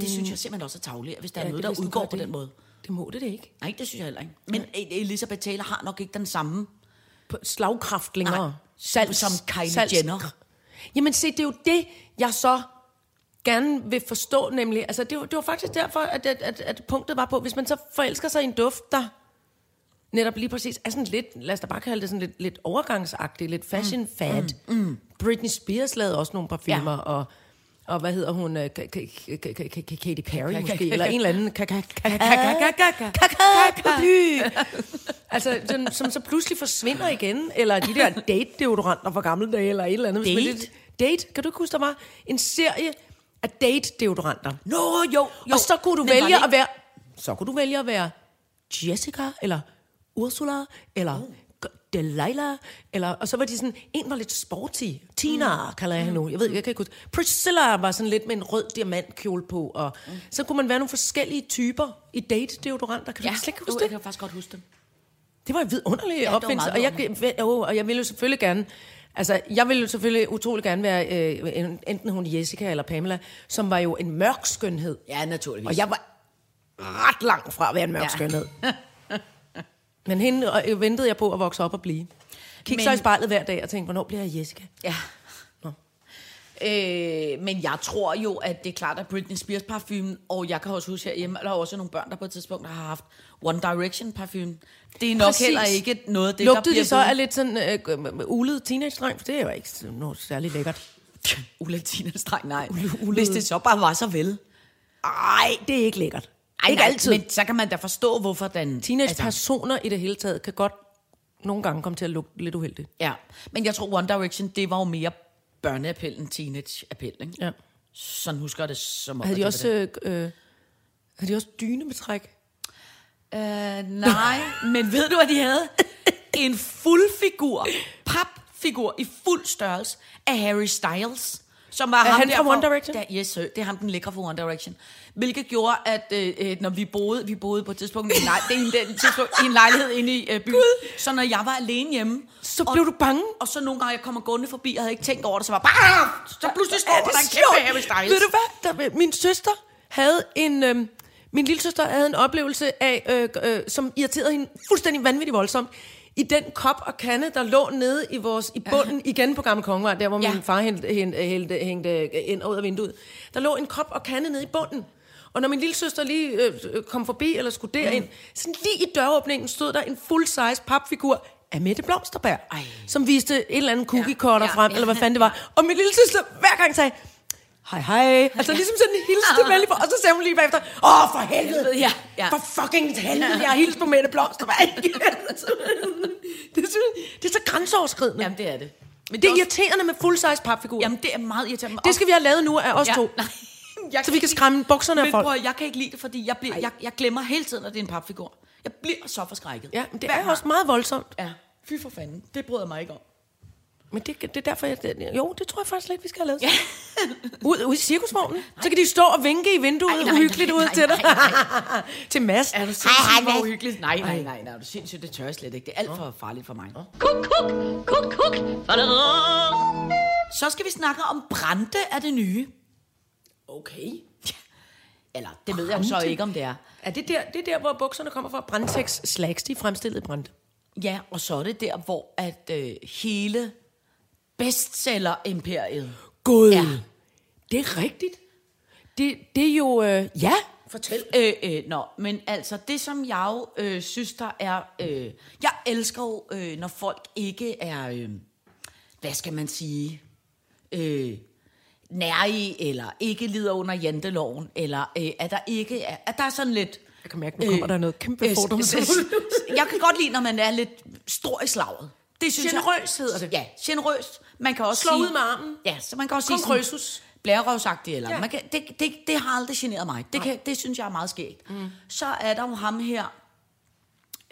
S4: Det synes jeg simpelthen også er tavligt, hvis der er
S3: Mm. Ja,
S4: noget,
S3: det
S4: der
S3: vidste hun
S4: udgår
S3: godt,
S4: på
S3: det.
S4: den måde.
S3: Det må det da ikke.
S4: Nej, det synes jeg heller ikke. Men E- Elisabeth Taylor har nok ikke den samme
S3: På slagkraft længere.
S4: Nej. Som Kylie Jenner.
S3: Jamen se, det er jo det, jeg så gerne vil forstå, nemlig. Altså, det var, det var faktisk derfor, at, at, at, at punktet var på, hvis man så forelsker sig i en duft, der netop lige præcis er sådan lidt, lad os da bare kalde det sådan lidt, lidt overgangsagtigt, lidt fashion fad. Mm, mm. Britney Spears lavede også nogle parfumer, ja. og, og hvad hedder hun, øh, Ka- Ka- Ka- Ka- Ka- Ka- Katy Perry måske, eller en eller anden Ka- Ka- Ka- Ka- Ka- Ka- Ka- Ka- Paraply. Altså, som, som så pludselig forsvinder igen, eller de der date-deodoranter fra gamle dage, eller et eller andet. Hvis man
S4: Date?
S3: lidt- Date? Kan du ikke huske, der var en serie af date-deodoranter?
S4: Nå, jo, jo.
S3: Og så kunne du
S4: Men var
S3: vælge
S4: det
S3: at være... Så kunne du vælge at være Jessica, eller Ursula, eller oh. Delilah, eller... Og så var de sådan... En var lidt sporty. Tina, mm. kalder jeg hende nu. Jeg ved ikke, jeg kan ikke huske. Priscilla var sådan lidt med en rød diamantkjole på, og... Mm. Så kunne man være nogle forskellige typer i date-deodoranter. Kan ja.
S4: Ja,
S3: du slet ikke
S4: jo,
S3: huske det?
S4: jeg kan faktisk godt huske dem.
S3: Det var en vidunderlig ja,
S4: var
S3: opfindelse, og
S4: meget
S3: jeg, jo, og jeg ville jo selvfølgelig gerne... Altså, jeg ville jo selvfølgelig utrolig gerne være øh, en- enten hun Jessica eller Pamela, som var jo en mørk skønhed.
S4: Ja, naturligvis.
S3: Og jeg var ret langt fra at være en mørk ja.
S4: Ja.
S3: skønhed. Men hende øh, ventede jeg på at vokse op og blive. Kig Men... så
S4: Men-
S3: i spejlet hver dag og tænkte, hvornår bliver jeg Jessica?
S4: Ja. Øh, men jeg tror jo, at det er klart, at Britney Spears parfume, og jeg kan også huske herhjemme, der er også nogle børn, der på et tidspunkt har haft One Direction parfume. Det er nok
S3: Præcis.
S4: Præcis. heller ikke noget af det, der
S3: Lugtede
S4: bliver
S3: det så af lidt sådan øh, øh, ulet teenage-dreng? For det er jo ikke sådan noget særlig lækkert.
S4: Ulatinestræk, nej. Hvis det så bare var så vel.
S3: Nej, det er ikke lækkert.
S4: Ej,
S3: ikke
S4: nej,
S3: altid.
S4: Men så kan man da forstå, hvorfor den...
S3: Altså-
S4: altså,
S3: Teenage-personer i det hele taget kan godt nogle gange komme til at lugte lidt uheldigt.
S4: ja. Men jeg tror, One Direction, det var jo mere børneappel end teenageappel, ikke?
S3: Ja.
S4: Sådan husker jeg det som om.
S3: Havde de
S4: at det
S3: også, øh, øh, havde de også dyne med træk?
S4: Øh, nej, men ved du, hvad de havde? En fuld figur, papfigur i fuld størrelse af Harry Styles. Som var ham
S3: han
S4: der
S3: fra One Direction?
S4: Der, yes, sir. det er ham, den lækre fra One Direction. Hvilket gjorde, at øh, øh, når vi boede, vi boede på et tidspunkt i en, lej- det er en, den tidspunkt, i en lejlighed inde i øh, byen. Så når jeg var alene hjemme...
S3: Så blev du bange?
S4: Og så nogle gange, jeg kommer gående forbi, og havde ikke tænkt over det, så var bare... Så pludselig står der en kæmpe Harry Styles.
S3: Ved du hvad? Der, min søster havde en... Øhm, min lille søster havde en oplevelse af, øh, øh, som irriterede hende fuldstændig vanvittigt voldsomt, i den kop og kande, der lå nede i, vores, i bunden igen på Gamle Kongevej, der hvor ja.
S4: Ja.
S3: min far hængte, hængte, hængte, hængte øh, ind og ud af vinduet. Der lå en kop og kande nede i bunden. Og når min lille søster lige øh, øh, kom forbi eller skulle derind, mm. sådan lige i døråbningen stod der en full-size papfigur af Mette Blomsterberg, Ej. som viste en eller anden cookie cutter ja.
S4: Ja.
S3: frem, eller hvad fanden det var. Og min lille søster hver gang sagde, hej hej. Altså ligesom sådan en hilste med lige på, og så sagde hun lige bagefter, åh for helvede,
S4: Ja, ja.
S3: for fucking helvede, jeg har hilst på Mette Blomsterberg. Altså, det, er så- det er så grænseoverskridende.
S4: Jamen, det er det.
S3: Men det er irriterende med full-size papfigurer.
S4: Jamen, det er meget irriterende.
S3: det skal vi have lavet nu af os ja. to.
S4: nej. Jeg
S3: Så vi kan
S4: ikke-
S3: skræmme bukserne af
S4: Men
S3: folk.
S4: Prøv, at- jeg kan ikke lide det, fordi jeg, bliver, jeg, jeg glemmer hele tiden, at det er en papfigur. Jeg bliver så forskrækket.
S3: Ja, men det
S4: Hver
S3: er også meget voldsomt.
S4: gang. Ja, fy for fanden. Det bryder jeg mig ikke om.
S3: Men det, det er derfor, jeg... det- Jo, det tror jeg faktisk lidt, vi skal have lavet. Ja. Ud, ud i cirkusvognen. Så kan de stå og vinke i vinduet,
S4: Ej,
S3: Ej,
S4: nej,
S3: uhyggeligt
S4: nej,
S3: ud
S4: nej,
S3: til dig.
S4: nej,
S3: til Mads.
S4: Er du sindssygt, hvor uhyggeligt? Nej, nej, nej, nej. Er du sindssygt? Det tør jeg slet ikke. Det er alt for farligt for mig.
S2: Kuk, kuk, kuk, kuk.
S4: Så skal vi snakke om brænde af det nye. Okay. Eller, det ved jeg jo så
S3: Brande?
S4: ikke, om det er.
S3: Er det der, det er der, hvor bukserne kommer fra? Brandtex slags, de er fremstillet i brand.
S4: Ja, og så er det der, hvor at øh, hele bestseller-imperiet
S3: Gud.
S4: Ja.
S3: Det er rigtigt. Det, det er jo... Øh, ja.
S4: Fortæl. Øh, øh, nå, men altså, det som jeg jo øh, synes, der er... Øh, jeg elsker jo, øh, når folk ikke er... Øh, hvad skal man sige? Øh, nær i, eller ikke lider under janteloven, eller øh, at der ikke er... At der er sådan lidt...
S3: Jeg kan mærke, nu kommer der noget kæmpe
S4: s-
S3: fordoms-
S4: s- s- Jeg kan godt lide, når man er lidt stor i slaget. Det synes
S3: Generøs
S4: jeg,
S3: hedder det.
S4: Ja, generøst. Man kan også
S3: Slå
S4: sige,
S3: ud med armen.
S4: Ja, så man kan også
S3: Kong
S4: sige... sådan-
S3: Krøsus.
S4: blærerøvsagtig, eller
S3: Ja.
S4: ja. man kan, det, det, det har aldrig generet mig. Det, kan, det synes jeg er meget skægt. Mm. Så er der jo ham her,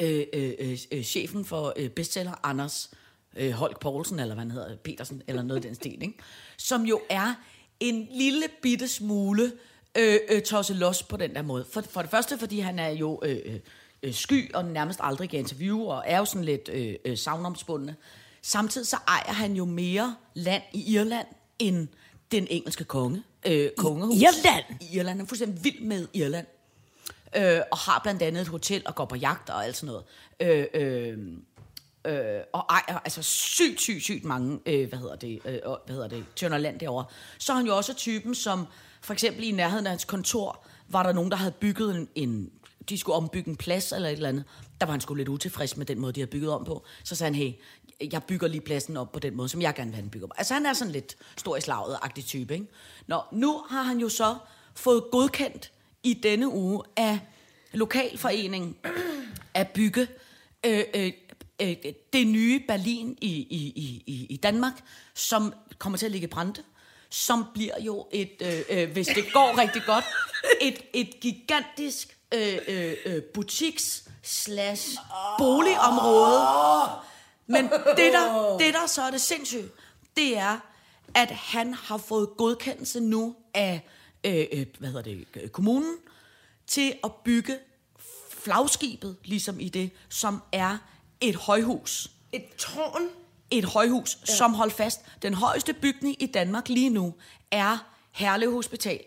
S4: øh, øh, øh, øh, chefen for øh, bestseller Anders øh, Holk Poulsen, eller hvad han hedder, Petersen, eller noget i den stil, ikke? som jo er en lille bitte smule øh, øh, tosset los på den der måde. For, for det første, fordi han er jo øh, øh, øh, sky og nærmest aldrig giver interview, og er jo sådan lidt øh, øh, savnomspundende. Samtidig så ejer han jo mere land i Irland end den engelske konge. Øh, kongehus.
S3: Irland?
S4: I Irland. Han er fuldstændig vild med Irland øh, og har blandt andet et hotel og går på jagt og alt sådan noget. Øh, øh, øh, og ejer altså sygt, sygt, sygt mange, øh, hvad hedder det, øh, og- hvad hedder det, tønder land derovre. Så er han jo også typen, som for eksempel i nærheden af hans kontor, var der nogen, der havde bygget en, en de skulle ombygge en plads eller et eller andet. Der var han sgu lidt utilfreds med den måde, de havde bygget om på. Så sagde han, hey, jeg bygger lige pladsen op på den måde, som jeg gerne vil have den bygget op. Altså han er sådan lidt stor i slaget-agtig type, ikke? Nå, nu har han jo så fået godkendt i denne uge af lokalforeningen at bygge øh, øh, øh, det nye Berlin i, i, i, i- i Danmark, som kommer til at ligge i brænde, som bliver jo et, øh, øh, hvis det går rigtig godt, et, et gigantisk øh, øh, øh, butiks slash boligområde. Men det der, det der så er det sindssygt, det er, at han har fået godkendelse nu af øh, øh, hvad hedder det, øh, kommunen til at bygge flagskibet, ligesom i det, som er et højhus.
S3: Et tårn.
S4: Et højhus, ja. som hold fast. Den højeste bygning i Danmark lige nu er Herlev Hospital,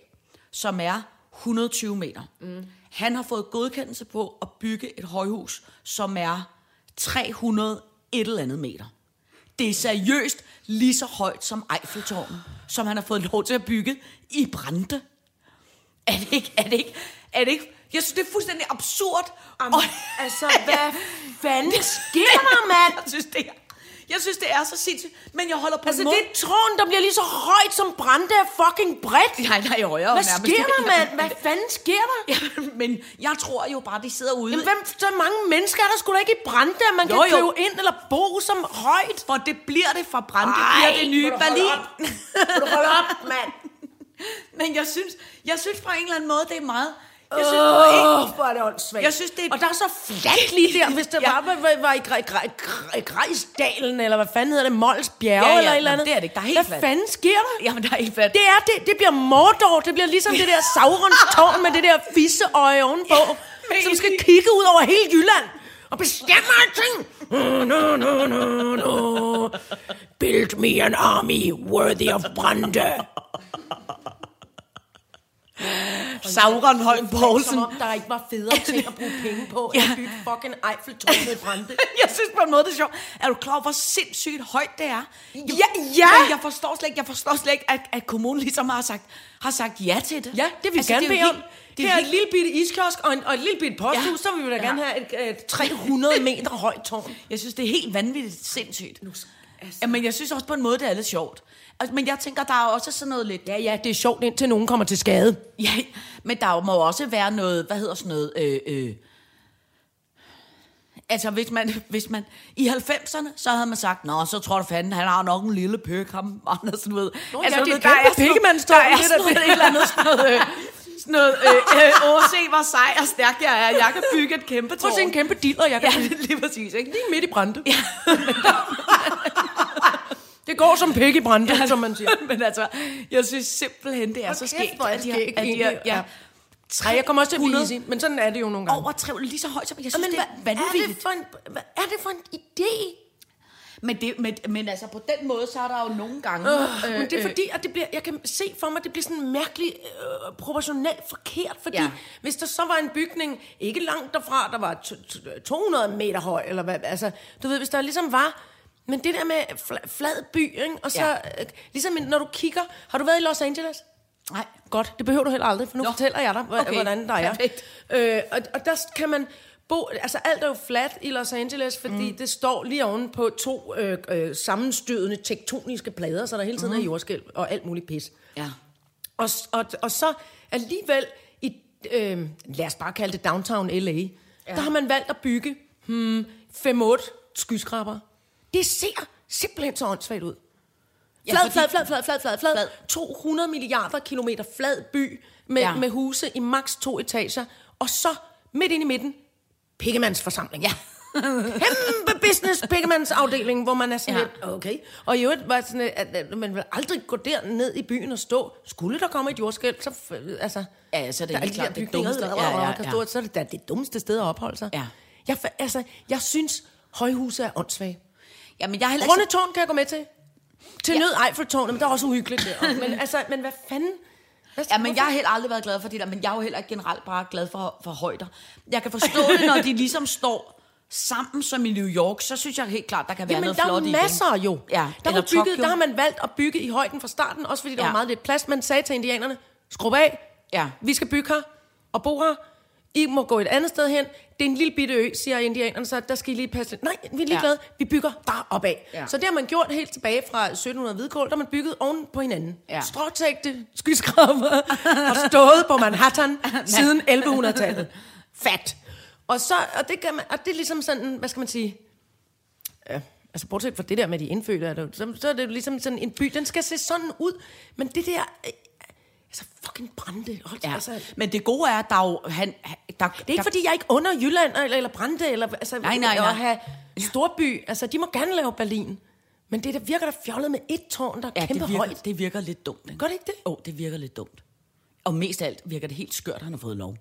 S4: som er 120 meter. Mm. Han har fået godkendelse på at bygge et højhus, som er 300 et eller andet meter. Det er seriøst lige så højt som Eiffeltårnet, som han har fået lov til at bygge i Brande. Er det ikke? Er det ikke? Er det ikke? Jeg synes, det er fuldstændig absurd.
S3: Jamen, altså, hvad fanden sker der, mand?
S4: Jeg synes, det er, jeg synes, det er så sindssygt. Men jeg holder på
S3: Altså,
S4: en
S3: det
S4: måde...
S3: er et tårn, der bliver lige så højt som brændte af fucking bredt.
S4: Nej, nej, højere
S3: Hvad
S4: nærmest.
S3: sker der, mand? Hvad fanden sker der?
S4: Ja, men jeg tror jo bare, de sidder ude.
S3: Jamen, hvem, så mange mennesker er der sgu da ikke i Brande, at man jo,
S4: Jo,
S3: kan
S4: jo.
S3: købe ind eller bo som højt.
S4: For det bliver det fra Brande, det
S3: Ej,
S4: bliver det nye
S3: må du holde
S4: Berlin.
S3: op. Må du holde op, mand?
S4: Men jeg synes, jeg synes på en eller anden måde, det er meget... Jeg synes, på en,
S3: Åh, hvor er det åndssvagt.
S4: Jeg synes, det er-
S3: Og der er så fladt lige der, hvis det
S4: Ja.
S3: bare var, var, var i Gre- Gre- Gre- Grejsdalen, eller hvad fanden hedder det, Mols Bjerge,
S4: Ja, ja,
S3: eller et eller
S4: nå,
S3: andet.
S4: det er det ikke. Der er helt
S3: Hvad
S4: fladt.
S3: fanden sker der?
S4: jamen, der er helt fat.
S3: Det er det. Det bliver Mordor. Det bliver ligesom det der Saurons tårn med det der fisseøje ovenpå,
S4: men
S3: som skal
S4: egentlig-
S3: kigge ud over hele Jylland og bestemme alting. Oh, no, no, no, no. Build me an army worthy of Brande.
S4: Sauron Holm Poulsen.
S3: Som om der ikke var federe ting at bruge penge på, ja.
S4: Ja.
S3: end at bygge fucking Eiffeltårnet i Brande.
S4: Jeg synes på en måde, det er sjovt. Er du klar over, hvor sindssygt højt det er?
S3: ja.
S4: Men jeg forstår slet ikke, jeg forstår slet ikke at, at kommunen ligesom har sagt, har sagt ja til det.
S3: Ja, det vil vi altså, gerne
S4: det er
S3: bede
S4: jo
S3: om.
S4: helt-
S3: Det
S4: Det
S3: er
S4: er
S3: et lille bitte iskiosk og, en, og et lille bitte posthus, ja.
S4: Ja.
S3: så vil vi da
S4: Ja.
S3: gerne have et, et 300 meter højt tårn.
S4: Jeg synes, det er helt vanvittigt sindssygt.
S3: altså.
S4: Ja, men jeg synes også på en måde, det er lidt sjovt. Altså, men jeg tænker, der er også sådan noget lidt...
S3: Ja, ja, det er sjovt, indtil nogen kommer til skade.
S4: Ja, men der må også være noget, hvad hedder sådan noget, øh, øh, altså hvis man, hvis man, i 90'erne, så havde man sagt, nå, så tror du fanden, han har nok en lille pøk, ham Andersen, du ved. Nå,
S3: ja,
S4: altså,
S3: det er
S4: du ved,
S3: kæmpe
S4: sådan noget-
S3: pikkemandstål,
S4: Der er
S3: det
S4: sådan
S3: der.
S4: noget, et eller andet, sådan noget, øh, sådan noget, øh, øh, åh, se hvor sej og stærk jeg er, jeg kan bygge et kæmpe
S3: Prøv
S4: tårn.
S3: at se en kæmpe dealer, jeg kan
S4: Ja,
S3: ja.
S4: lige præcis, ikke?
S3: Lige midt i Brande. Ja. det går som pik i Brande, ja. som man siger.
S4: Men altså, jeg synes simpelthen, det er så
S3: kæft,
S4: skægt,
S3: hvor er
S4: at de har,
S3: skægt
S4: at de har,
S3: egentlig, ja.
S4: ja,
S3: Ej, jeg kommer også til at blive
S4: 100.
S3: easy, men sådan er det jo nogle gange.
S4: over tre- lige så højt som, jeg synes, det er vanvittigt.
S3: for en, hvad er det for en idé?
S4: Men, det, men, men altså, på den måde, så er der jo nogle gange...
S3: Øh, men det er fordi, at det bliver, jeg kan se for mig, at det bliver sådan mærkeligt øh, proportionelt forkert, fordi ja.
S4: Ja.
S3: hvis der så var en bygning ikke langt derfra, der var to- to- 200 meter høj, eller hvad, altså, du ved, hvis der ligesom var, men det der med fla- flad by, ikke? og så, ja.
S4: Ja.
S3: øh, ligesom når du kigger, har du været i Los Angeles?
S4: Nej.
S3: Godt, det behøver du heller aldrig, for nu Nå.
S4: Nå.
S3: fortæller jeg dig, hv- okay.
S4: Okay.
S3: hvordan der er.
S4: Perfekt.
S3: Øh, og, og der kan man bo, altså alt er jo fladt i Los Angeles, fordi mm. det står lige oven på to øh, øh, sammenstødende tektoniske plader, så der hele tiden mm. er jordskælv og alt muligt pis.
S4: Ja.
S3: Og, s- og, og så alligevel i, øh, lad os bare kalde det downtown LA, ja. der har man valgt at bygge hmm, 5-8 skyskrabere. Det ser simpelthen så åndssvagt ud. Flad, ja,
S4: fordi-
S3: flad, flad, flad, flad, flad, flad. 200 milliarder kilometer flad by med, ja.
S4: Ja.
S3: med huse i maks to etager. Og så midt ind i midten, pikkemandsforsamling.
S4: Ja.
S3: Kæmpe business pikkemandsafdeling, hvor man er sådan ja.
S4: Ja.
S3: lidt, okay. Og i øvrigt var jeg sådan, lidt, at, at man vil aldrig gå derned i byen og stå. Skulle der komme et jordskælv, så... f- Altså,
S4: Ja, så er det
S3: der er
S4: helt
S3: de
S4: klart
S3: der
S4: det
S3: bygninger,
S4: dummeste.
S3: der
S4: Ja, ja,
S3: kan stå,
S4: ja.
S3: Så er det da det dummeste sted at opholde sig.
S4: Ja.
S3: Jeg, fa- altså, jeg synes, højhuse er åndssvage.
S4: Jamen, jeg er heller
S3: Runde
S4: ikke...
S3: tårn kan jeg gå med til. Til ja.
S4: Altså- Ja.
S3: nød Eiffeltårnet, men der er også uhyggeligt der. men, altså, men hvad fanden? Hvad,
S4: Ja, men jeg
S3: hvorfor-
S4: har heller aldrig været glad for det der, men jeg er jo heller ikke generelt bare glad for, for højder. Jeg kan forstå det, når de ligesom står sammen som i New York, så synes jeg helt klart, der kan være
S3: Jamen,
S4: noget
S3: der er
S4: flot i det.
S3: masser jo.
S4: Ja,
S3: der, var
S4: eller
S3: bygget,
S4: Tokyo.
S3: der har man valgt at bygge i højden fra starten, også fordi der ja.
S4: Ja.
S3: var meget lidt plads. Man sagde til indianerne, skrub af,
S4: Ja.
S3: vi skal bygge her og bo her. I må gå et andet sted hen. Det er en lille bitte ø, siger indianerne, så der skal I lige passe lidt. Nej, vi er ligeglade. Ja. Vi bygger bare opad.
S4: Ja.
S3: Ja. Så det har man gjort helt tilbage fra 1700 Hvidkål, der har man bygget oven på hinanden.
S4: Ja.
S3: Ja. Stråtægte skyskraber og stået på Manhattan siden 1100-tallet. Fat. Og, så, og, det kan man, og det er ligesom sådan, hvad skal man sige, Altså bortset fra det der med de indfødte, er det, jo- så, så er det jo ligesom sådan en by, den skal se sådan ud. Men det der, øh, altså fucking Brande. Hold, ja.
S4: Ja.
S3: altså, det
S4: Men det gode er, at der er jo... Han, han- der, det
S3: er ikke fordi, jeg ikke under Jylland eller, eller Brande, eller altså,
S4: Nej, nej, nej.
S3: at have storby. Altså, de må gerne lave Berlin. Men det der virker der fjollet med et tårn, der er
S4: ja,
S3: ja, kæmpe
S4: det virker,
S3: højt.
S4: det virker lidt dumt. Ikke?
S3: Gør det ikke det?
S4: Jo, oh, det virker lidt dumt. Og mest af alt virker det helt skørt, at han har fået lov.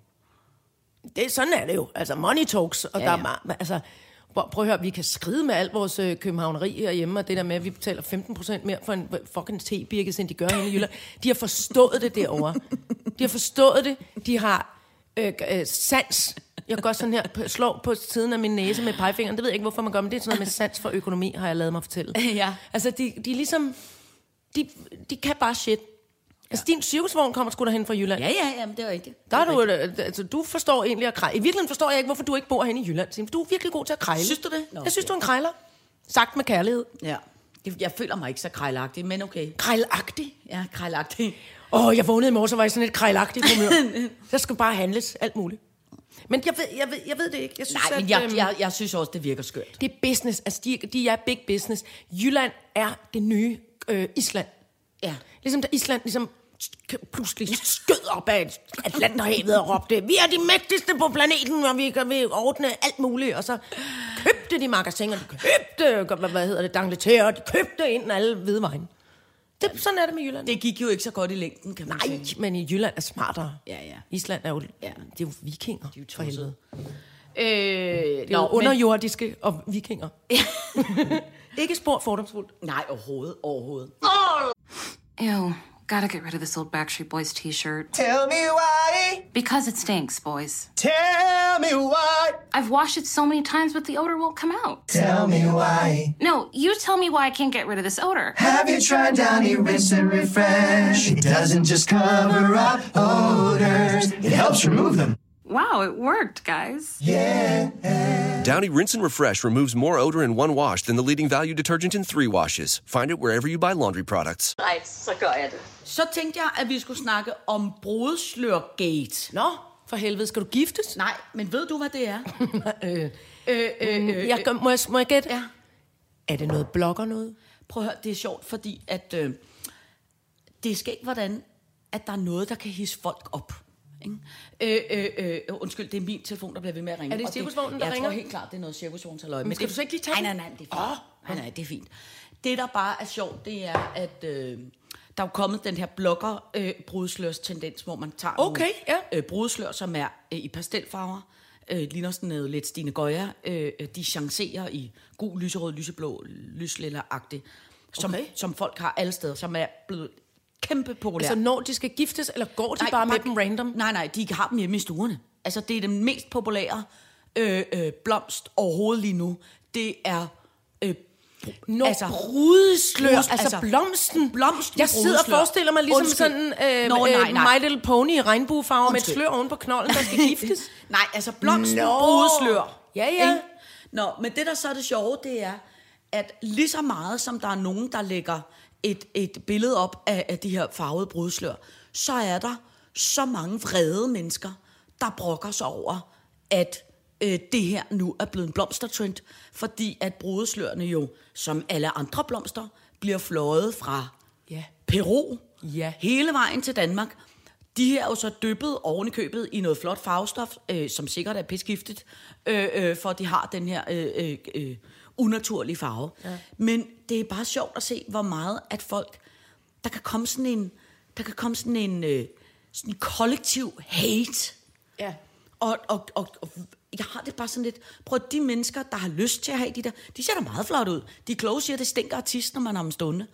S3: det. Sådan er det jo. Altså, money talks. Og
S4: Ja,
S3: ja, der
S4: ja.
S3: er meget, men altså, prøv, prøv at høre, vi kan skride med al vores øh, københavneri herhjemme, og det der med, at vi betaler 15% mere for en øh, fucking tebirkes, end de gør henne i Jylland. De har forstået det derovre. De har forstået det. De har øh, øh, sans. Jeg gør sådan her, p- slår på siden af min næse med pegefingeren. Det ved jeg ikke, hvorfor man gør, men det er sådan noget med sans for økonomi, har jeg lavet mig fortælle.
S4: Ja.
S3: Altså, de, de er ligesom... De, de kan bare shit. Altså, din cirkusvogn kommer sgu derhen fra Jylland.
S4: Ja, ja, ja, men det er rigtigt.
S3: Der er du, altså, du forstår egentlig at krejle. I virkeligheden forstår jeg ikke, hvorfor du ikke bor hen i Jylland. Signe, For du er virkelig god til at krejle.
S4: Synes du det? Nå,
S3: jeg synes,
S4: okay.
S3: du er en krejler. Sagt med kærlighed.
S4: Ja. Det- Jeg føler mig ikke så krejlagtig, men okay.
S3: Krejlagtig.
S4: Ja, krejlagtig.
S3: Åh, oh, jeg vågnede i morges og var i sådan et krejlagtigt humør. der skal bare handles alt muligt. Men jeg ved, jeg ved, jeg ved det ikke. Jeg synes,
S4: Nej, men
S3: at,
S4: jeg,
S3: øhm,
S4: jeg, jeg synes også, det virker skørt.
S3: det er business. Altså, de, de er big business. Jylland er det nye øh, Island.
S4: Ja.
S3: Ligesom da Island ligesom sk- pludselig skød op af Atlanterhavet og råbte, vi er de mægtigste på planeten, og vi kan vi ordne alt muligt. Og så købte de magasiner, de købte, hvad, hvad hedder det, Dangleterre, de købte ind alle hvidevejen. Det, sådan er det med Jylland. Det,
S4: Det gik jo ikke så godt i længden, kan man
S3: nej,
S4: sige.
S3: men i Jylland er smartere.
S4: Ja, ja.
S3: Island er jo,
S4: Ja.
S3: ja. det er jo vikinger. De er jo for
S4: tossede.
S3: helvede.
S4: Øh,
S3: Det er jo underjordiske og vikinger. Ikke spor fordomsfuldt.
S4: Nej, overhovedet, overhovedet.
S6: Ew, gotta get rid of this old Backstreet Boys t shirt. Tell me why. Because it stinks, boys. Tell me why. I've washed it so many times, but the odor won't come out. Tell me why. No, you tell me why I can't get rid of this odor.
S7: Have you tried Downy Rinse and Refresh? It doesn't just cover up odors, it helps remove them.
S6: Wow, it worked, guys.
S8: Downy Rinse and Refresh removes more odor in one wash than the leading value detergent in three washes. Find it wherever you buy laundry products.
S2: Nej, så gør jeg det.
S4: Så tænkte jeg, at vi skulle snakke om brudslørgate.
S3: Nå, for helvede, skal du giftes?
S4: Nej, men ved du, hvad det er? Øh,
S3: Jeg, gør- må, jeg, må jeg gætte? Ja. Er det noget blogger noget?
S4: Prøv at høre, det er sjovt, fordi at, øh, det er skægt, hvordan at der er noget, der kan hisse folk op. Ikke? Øh, øh, øh, undskyld, det er min telefon, der bliver ved med at ringe.
S3: Er det
S4: Og
S3: cirkusvognen,
S4: jeg
S3: der ringer?
S4: tror helt klart, det er noget cirkusvognens halløj. Men
S3: skal du så ikke lige tage
S4: nej, nej,
S3: den?
S4: nej, det er fint. Oh. Nej, nej, det er fint. Det, der bare er sjovt, det er, at øh, der er jo kommet den her blogger øh, brudslørs tendens, hvor man tager
S3: Okay, ja.
S4: nogle, øh, brudslør, som er øh, i pastelfarver. Øh, ligner sådan noget lidt Stine Goya. Øh, øh, de chancerer i gul, lyserød, lyseblå, lyslilla-agtigt. Som, okay. som folk har alle steder, som er blevet kæmpe populære.
S3: Altså når de skal giftes, eller går de nej, bare med dem random?
S4: Nej, nej, de har dem hjemme i stuerne. Altså, det er den mest populære øh, øh, blomst overhovedet lige nu. Det er... Øh,
S3: Når
S4: altså,
S3: altså, brudeslør,
S4: brus-
S3: altså, altså blomsten.
S4: blomsten
S3: Jeg sidder og
S4: brudeslør.
S3: forestiller mig ligesom
S4: Undskyld.
S3: sådan øh,
S4: Nå, nej, nej.
S3: My Little Pony i regnbuefarver med et
S4: Undskyld.
S3: slør oven på knolden, der skal giftes.
S4: Nej, altså blomsten, no.
S3: Nå.
S4: brudeslør.
S3: Ja, ja.
S4: Ikke? Nå, men det der så er det sjove, det er, at lige så meget som der er nogen, der lægger et, et billede op af, af de her farvede brudslør, så er der så mange vrede mennesker, der brokker sig over, at øh, det her nu er blevet en blomstertrend, fordi at brudeslørene jo, som alle andre blomster, bliver fløjet fra
S3: Ja.
S4: Peru
S3: Ja.
S4: hele vejen til Danmark. De her er jo så dyppet oven i købet i noget flot farvestof, øh, som sikkert er pissegiftigt, øh, øh, for de har den her øh, øh, øh, unaturlige farve. Ja. Men det er bare sjovt at se, hvor meget at folk, der kan komme sådan en, der kan komme sådan en øh, sådan kollektiv hate.
S3: ja.
S4: Og, og, og, og jeg har det bare sådan lidt, prøv at de mennesker, der har lyst til at have de der, de ser da meget flot ud. De kloge siger, at det stinker af tis, når man har dem stående.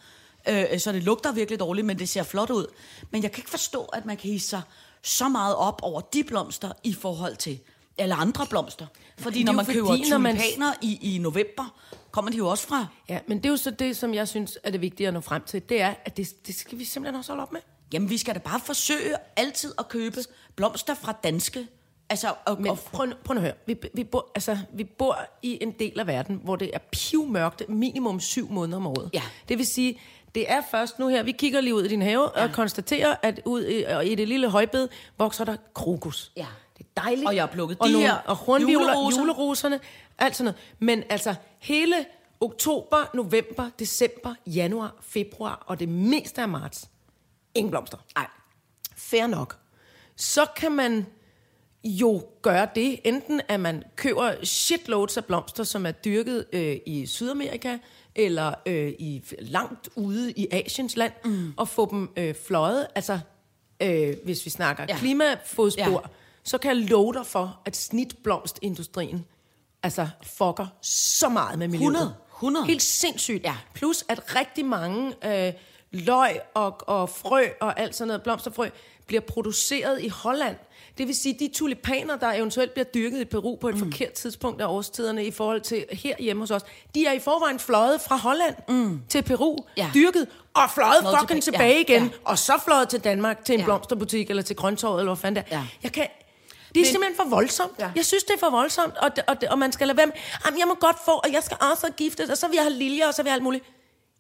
S4: Øh, så det lugter virkelig dårligt, men det ser flot ud. Men jeg kan ikke forstå, at man kan hisse sig så meget op over de blomster i forhold til alle andre blomster. Fordi
S3: er
S4: når
S3: jo
S4: man køber
S3: fordi, når man-
S4: tulipaner i, i november, kommer de jo også fra.
S3: Ja, men det er jo så det, som jeg synes er det vigtige at nå frem til. Det er, at det, det skal vi simpelthen også holde op med.
S4: Jamen, vi skal da bare forsøge altid at købe blomster fra danske Altså, og,
S3: Men
S4: og
S3: prøv, nu- prøv nu at høre. Vi, vi, bor, altså, vi bor i en del af verden, hvor det er pivmørkt minimum syv måneder om året.
S4: Ja.
S3: Det vil sige, det er først nu her, vi kigger lige ud i din have ja. og konstaterer, at ud i, og i det lille højbed vokser der krokus.
S4: Ja.
S3: Det er dejligt.
S4: Og jeg har plukket
S3: og
S4: de
S3: nogle-
S4: her
S3: Og hornvioler,
S4: juleroser.
S3: juleroser. juleroserne, alt sådan noget. Men altså, hele oktober, november, december, januar, februar og det meste af marts, ingen blomster. Nej. Fair nok. Så kan man jo gøre det, enten at man køber shitloads af blomster, som er dyrket øh, i Sydamerika, eller øh, i langt ude i Asiens land, mm. og få dem øh, fløjet. Altså, øh, hvis vi snakker
S4: Ja.
S3: ja. klimafodspor,
S4: Ja.
S3: ja. så kan jeg love dig for, at snitblomstindustrien altså fucker så meget med miljøet.
S4: 100, 100.
S3: Helt sindssygt.
S4: Ja.
S3: Plus at rigtig mange øh, løg og, og frø og alt sådan noget, blomsterfrø, bliver produceret i Holland. Det vil sige, de tulipaner, der eventuelt bliver dyrket i Peru på et mm. forkert tidspunkt af årstiderne i forhold til herhjemme hos os, de er i forvejen fløjet fra Holland mm. til Peru,
S4: Ja.
S3: ja. dyrket og fløjet
S4: Fløjet
S3: fucking
S4: tilbage.
S3: tilbage,
S4: Ja,
S3: igen,
S4: ja.
S3: og så fløjet til Danmark til en
S4: Ja.
S3: ja. blomsterbutik eller til grønttorvet eller hvad fanden det er.
S4: Ja.
S3: Jeg kan... Det er Men, simpelthen for voldsomt.
S4: Ja.
S3: Ja. Jeg synes, det er for voldsomt, og, det- og, det- og man skal lade være med, jamen, jeg må godt få, og jeg skal også have giftes, og så vil jeg have liljer, og så vil jeg alt muligt.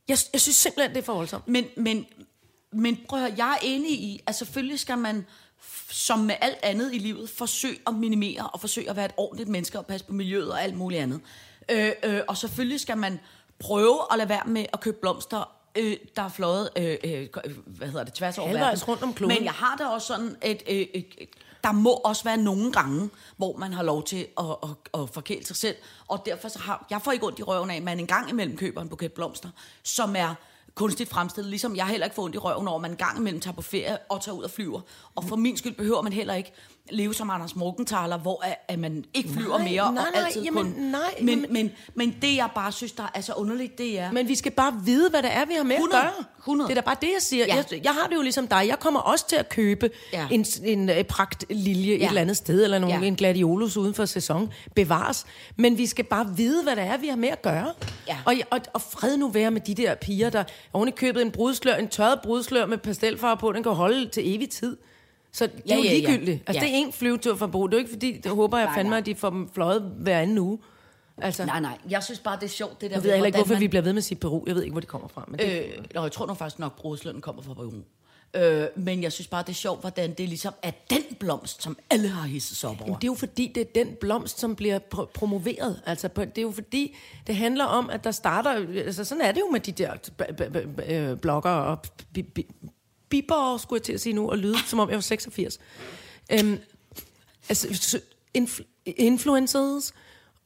S3: Jeg, jeg synes simpelthen, det er for voldsomt.
S4: Men, men, men prøv at høre, jeg er enig i, at selvfølgelig skal man, f- som med alt andet i livet, forsøge at minimere og forsøge at være et ordentligt menneske og passe på miljøet og alt muligt andet. Øh, øh, og selvfølgelig skal man prøve at lade være med at købe blomster, øh, der er fløjet, øh, øh, hvad hedder det, tværs over
S3: Halvvejs
S4: verden.
S3: rundt om kloden.
S4: Men jeg har da også sådan, at øh, øh, der må også være nogle gange, hvor man har lov til at, at, at forkæle sig selv. Og derfor så har, jeg får ikke ondt i røven af, at man en gang imellem køber en buket blomster, som er kunstigt fremstillet, ligesom jeg heller ikke får ondt i røven over, at man en gang imellem tager på ferie og tager ud og flyver. Og for min skyld behøver man heller ikke leve som Anders Morgenthaler, hvor at, at man ikke flyver
S3: Nej,
S4: mere
S3: nej,
S4: og
S3: nej,
S4: altid
S3: jamen,
S4: kun...
S3: nej,
S4: men,
S3: jamen-
S4: men, men det, jeg bare synes, der er så underligt, det er...
S3: Men vi skal bare vide, hvad det er, vi har med
S4: 100,
S3: at gøre.
S4: 100.
S3: Det er da bare det, jeg siger.
S4: Ja.
S3: Ja. Jeg, jeg har det jo ligesom dig. Jeg kommer også til at købe
S4: Ja.
S3: ja. en, en, en pragt lilje ja. et
S4: Ja.
S3: eller andet sted, eller nogle,
S4: Ja.
S3: ja. en gladiolus uden for sæson. Bevares. Men vi skal bare vide, hvad det er, vi har med at gøre.
S4: Ja.
S3: Og, og, og fred nu være med de der piger, der oven i købet en brudslør, en tørret brudslør med pastelfarve på, den kan holde til evig tid. Så det
S4: Ja,
S3: er jo
S4: ja, ja.
S3: ligegyldigt. Altså,
S4: Ja.
S3: det er en flyvetur for brug. Det er jo ikke fordi, det håber jeg
S4: Nej,
S3: fandme,
S4: nej.
S3: at de får dem fløjet hver anden uge. Altså,
S4: Nej, nej, jeg synes bare, det er sjovt, det der
S3: jeg ved heller ikke,
S4: hvordan
S3: hvorfor
S4: man-
S3: vi bliver ved med at sige Peru. Jeg ved ikke, hvor det kommer fra. Men det
S4: Øh, nå, jeg tror nu faktisk nok, brudslønnen kommer fra Peru. Øh, men jeg synes bare, det er sjovt, hvordan det ligesom er den blomst, som alle har hisset sig op over.
S3: Jamen, det er jo fordi, det er den blomst, som bliver pro- promoveret. Altså, på- det er jo fordi, det handler om, at der starter... Altså, sådan er det jo med de der b- b- b- øh, blogger og b- b- bibber, skulle jeg til at sige nu, og lyde, som om jeg var 86. Øhm, altså, s- inf- influencers...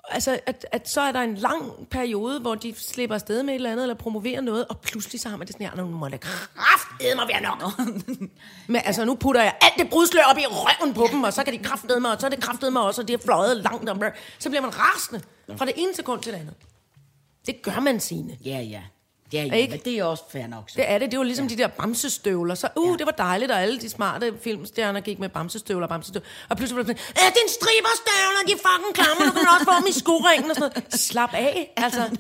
S3: Altså, at, at så er der en lang periode, hvor de slipper afsted med et eller andet, eller promoverer noget, og pludselig så har man det sådan her, nu må det kraftedme være nok. Men altså, nu putter jeg alt det brudslør op i røven på dem, og så kan de kraftedme, og så er det kraftedme også, og det er fløjet langt om. Så bliver man rasende fra det ene sekund til det andet. Det gør man sine.
S4: Ja, ja. Ja, ja,
S3: Ikke?
S4: men det er også fair nok. Så.
S3: Det er det. Det var ligesom ja. de der bamsestøvler. Så, uh, ja. det var dejligt, og alle de smarte filmstjerner gik med bamsestøvler og bamsestøvler. Og pludselig blev det sådan, "Øh, det er en striberstøvler, de er fucking klamme, du kan også få dem i skoringen og sådan noget. Slap af, altså.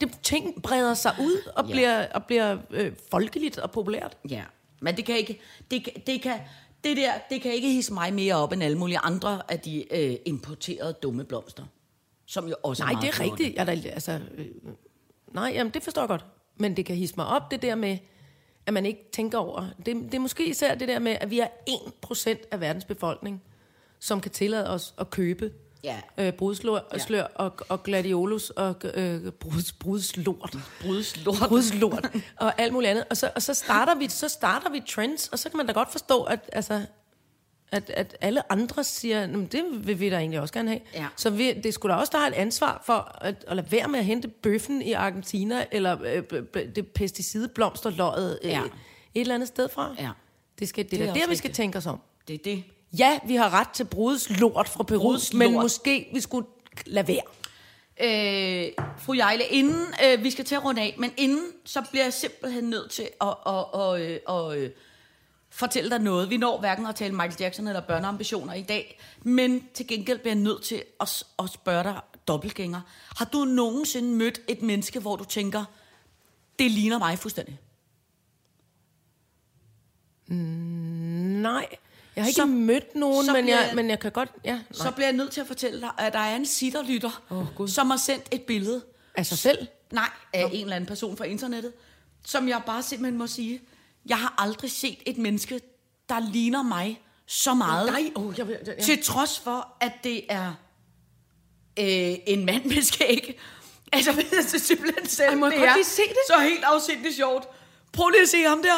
S3: Det, ting breder sig ud og
S4: Ja.
S3: bliver, og bliver øh, folkeligt og populært.
S4: Ja, men det kan ikke... Det, kan- det kan, det der, det kan ikke hisse mig mere op end alle mulige andre af de øh, importerede dumme blomster. Som jo også
S3: Nej,
S4: meget
S3: det er
S4: flotte.
S3: rigtigt. Jeg er da, altså, øh, nej, jamen, det forstår jeg godt. Men det kan hisse mig op, det der med, at man ikke tænker over. Det, det er måske især det der med, at vi er 1% af verdens befolkning, som kan tillade os at købe
S4: Ja.
S3: øh, brudslør ja. slør og, og gladiolus og øh, bruds, brudslort.
S4: Brudslort.
S3: Brudslort. og alt muligt andet. Og så, og så, starter vi, så starter vi trends, og så kan man da godt forstå, at, altså, at, at alle andre siger, "Nå, men det vil vi da egentlig også gerne have.
S4: Ja.
S3: Så vi, det skulle da også der har et ansvar for at, at lade være med at hente bøffen i Argentina, eller øh, b- b- det pesticidblomsterløjet øh,
S4: Ja.
S3: ja. et eller andet sted fra.
S4: Ja.
S3: Det, skal, det,
S4: Det
S3: det
S4: er
S3: er da der,
S4: også
S3: vi
S4: rigtigt.
S3: skal tænke os om.
S4: Det er det.
S3: Ja, vi har ret til brudslort fra Peru,
S4: Brudslort.
S3: men måske vi skulle lade være.
S4: øh, fru Jejle, inden øh, vi skal til at runde af, men inden, så bliver jeg simpelthen nødt til at, at, at, øh, at, øh, fortælle dig noget. Vi når hverken at tale Michael Jackson eller børneambitioner i dag, men til gengæld bliver jeg nødt til at, s- at spørge dig dobbeltgænger. Har du nogensinde mødt et menneske, hvor du tænker, det ligner mig fuldstændig?
S3: Nej. Jeg har ikke så, mødt nogen,
S4: så
S3: men
S4: bliver-
S3: jeg, men jeg kan godt... Ja, nej.
S4: Så bliver jeg nødt til at fortælle dig, at der er en sitterlytter, oh, som har sendt et billede.
S3: Af sig selv?
S4: Nej, af en eller anden person fra internettet, som jeg bare simpelthen må sige, jeg har aldrig set et menneske, der ligner mig så meget.
S3: Nej, oh, jeg, jeg, jeg,
S4: Til trods for, at det er øh, en mand med skæg. Altså, det er simpelthen selv,
S3: Ej, må jeg
S4: det
S3: godt
S4: er
S3: lige se det?
S4: så helt afsindigt sjovt. Prøv lige at se ham der.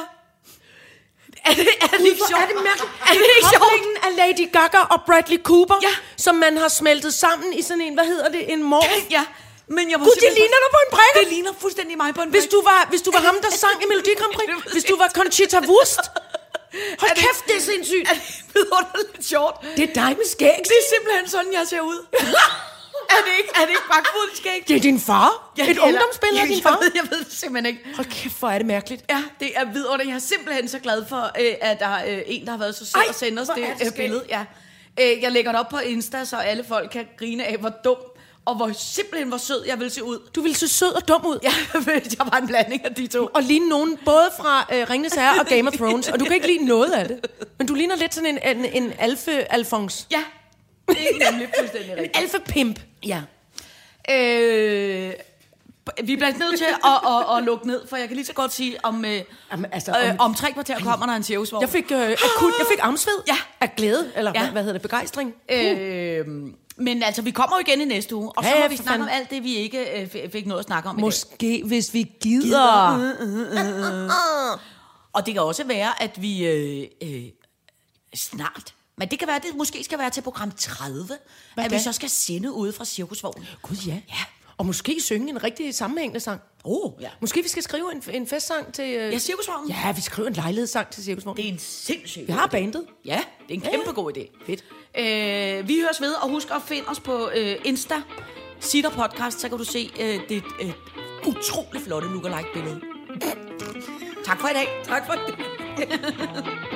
S4: Er det, er det ikke
S3: Hvor
S4: sjovt?
S3: er det mærkeligt?
S4: Er det ikke sjovt?
S3: Koblingen af Lady Gaga og Bradley Cooper,
S4: Ja.
S3: som man har smeltet sammen i sådan en, hvad hedder det, en morgen.
S4: Ja, men jeg må
S3: Gud, det
S4: simpelthen-
S3: ligner dig på en brække.
S4: Det ligner fuldstændig mig på en
S3: Hvis
S4: brække.
S3: du var, hvis du var ham, der sang i Melodi Grand Prix, hvis du var Conchita Wurst. Hold
S4: Er det-
S3: kæft, det er sindssygt.
S4: Er det vidunderligt sjovt?
S3: Det er dig med skæg.
S4: Det er simpelthen sådan, jeg ser ud. er det ikke, er det ikke bare fuldt skæg?
S3: Det er din far. Ja, Et
S4: eller-
S3: ungdomsbillede af
S4: Ja,
S3: din far.
S4: Jeg ved, jeg ved det simpelthen ikke.
S3: Hold kæft, hvor er det mærkeligt.
S4: Ja, det er vidunderligt. Jeg er simpelthen så glad for, øh, at der er øh, en, der har været så sød
S3: Ej,
S4: at sende os
S3: hvor
S4: det,
S3: er det
S4: øh,
S3: skægt.
S4: billede. Ja. Øh, Jeg lægger det op på Insta, så alle folk kan grine af, hvor dum og hvor simpelthen hvor sød jeg vil se ud.
S3: Du ville se sød og dum ud.
S4: Ja, jeg var en blanding af de to.
S3: Og ligne nogen både fra øh, Ringnes Herre og Game of Thrones. Og du kan ikke lide noget af det. Men du ligner lidt sådan en, en, en alfe alfons.
S4: Ja, det er nemlig fuldstændig rigtigt.
S3: En alfe pimp. Ja.
S4: Øh, vi bliver nødt til at, at, at lukke ned, for jeg kan lige så godt sige, om, øh,
S3: Jamen, altså,
S4: om,
S3: om-
S4: øh, om tre kvarter kommer der en tjævsvogn.
S3: Jeg fik, øh, akut, jeg fik armsved
S4: Ja.
S3: af glæde, eller
S4: Ja.
S3: ja. hvad hedder det, begejstring.
S4: Øh, men altså, vi kommer jo igen i næste uge, og så
S3: Ja,
S4: må
S3: ja,
S4: vi
S3: for
S4: snakke om
S3: fanden.
S4: alt det, vi ikke øh, f- fik noget at snakke om i dag.
S3: Måske, hvis vi gider.
S4: Og det kan også være, at vi øh, øh, snart, men det kan være, at det måske skal være til program 30, Hvad at vi
S3: da?
S4: så skal sende ude fra cirkusvognen.
S3: Gud ja. ja. Og måske synge en rigtig sammenhængende sang.
S4: Oh, ja.
S3: Måske vi skal skrive en, en festsang til... Øh...
S4: Ja, cirkusvognen.
S3: Ja, vi skriver en lejlighedssang til Cirkusvogn.
S4: Det er en sindssyg
S3: Vi har bandet.
S4: Ja, det er en kæmpe god idé.
S3: Fedt.
S4: Øh, vi høres ved, og husk at finde os på øh, Insta, Sitter Podcast, så kan du se øh, det øh, utrolig flotte look-alike billede. tak for i dag. Tak for det.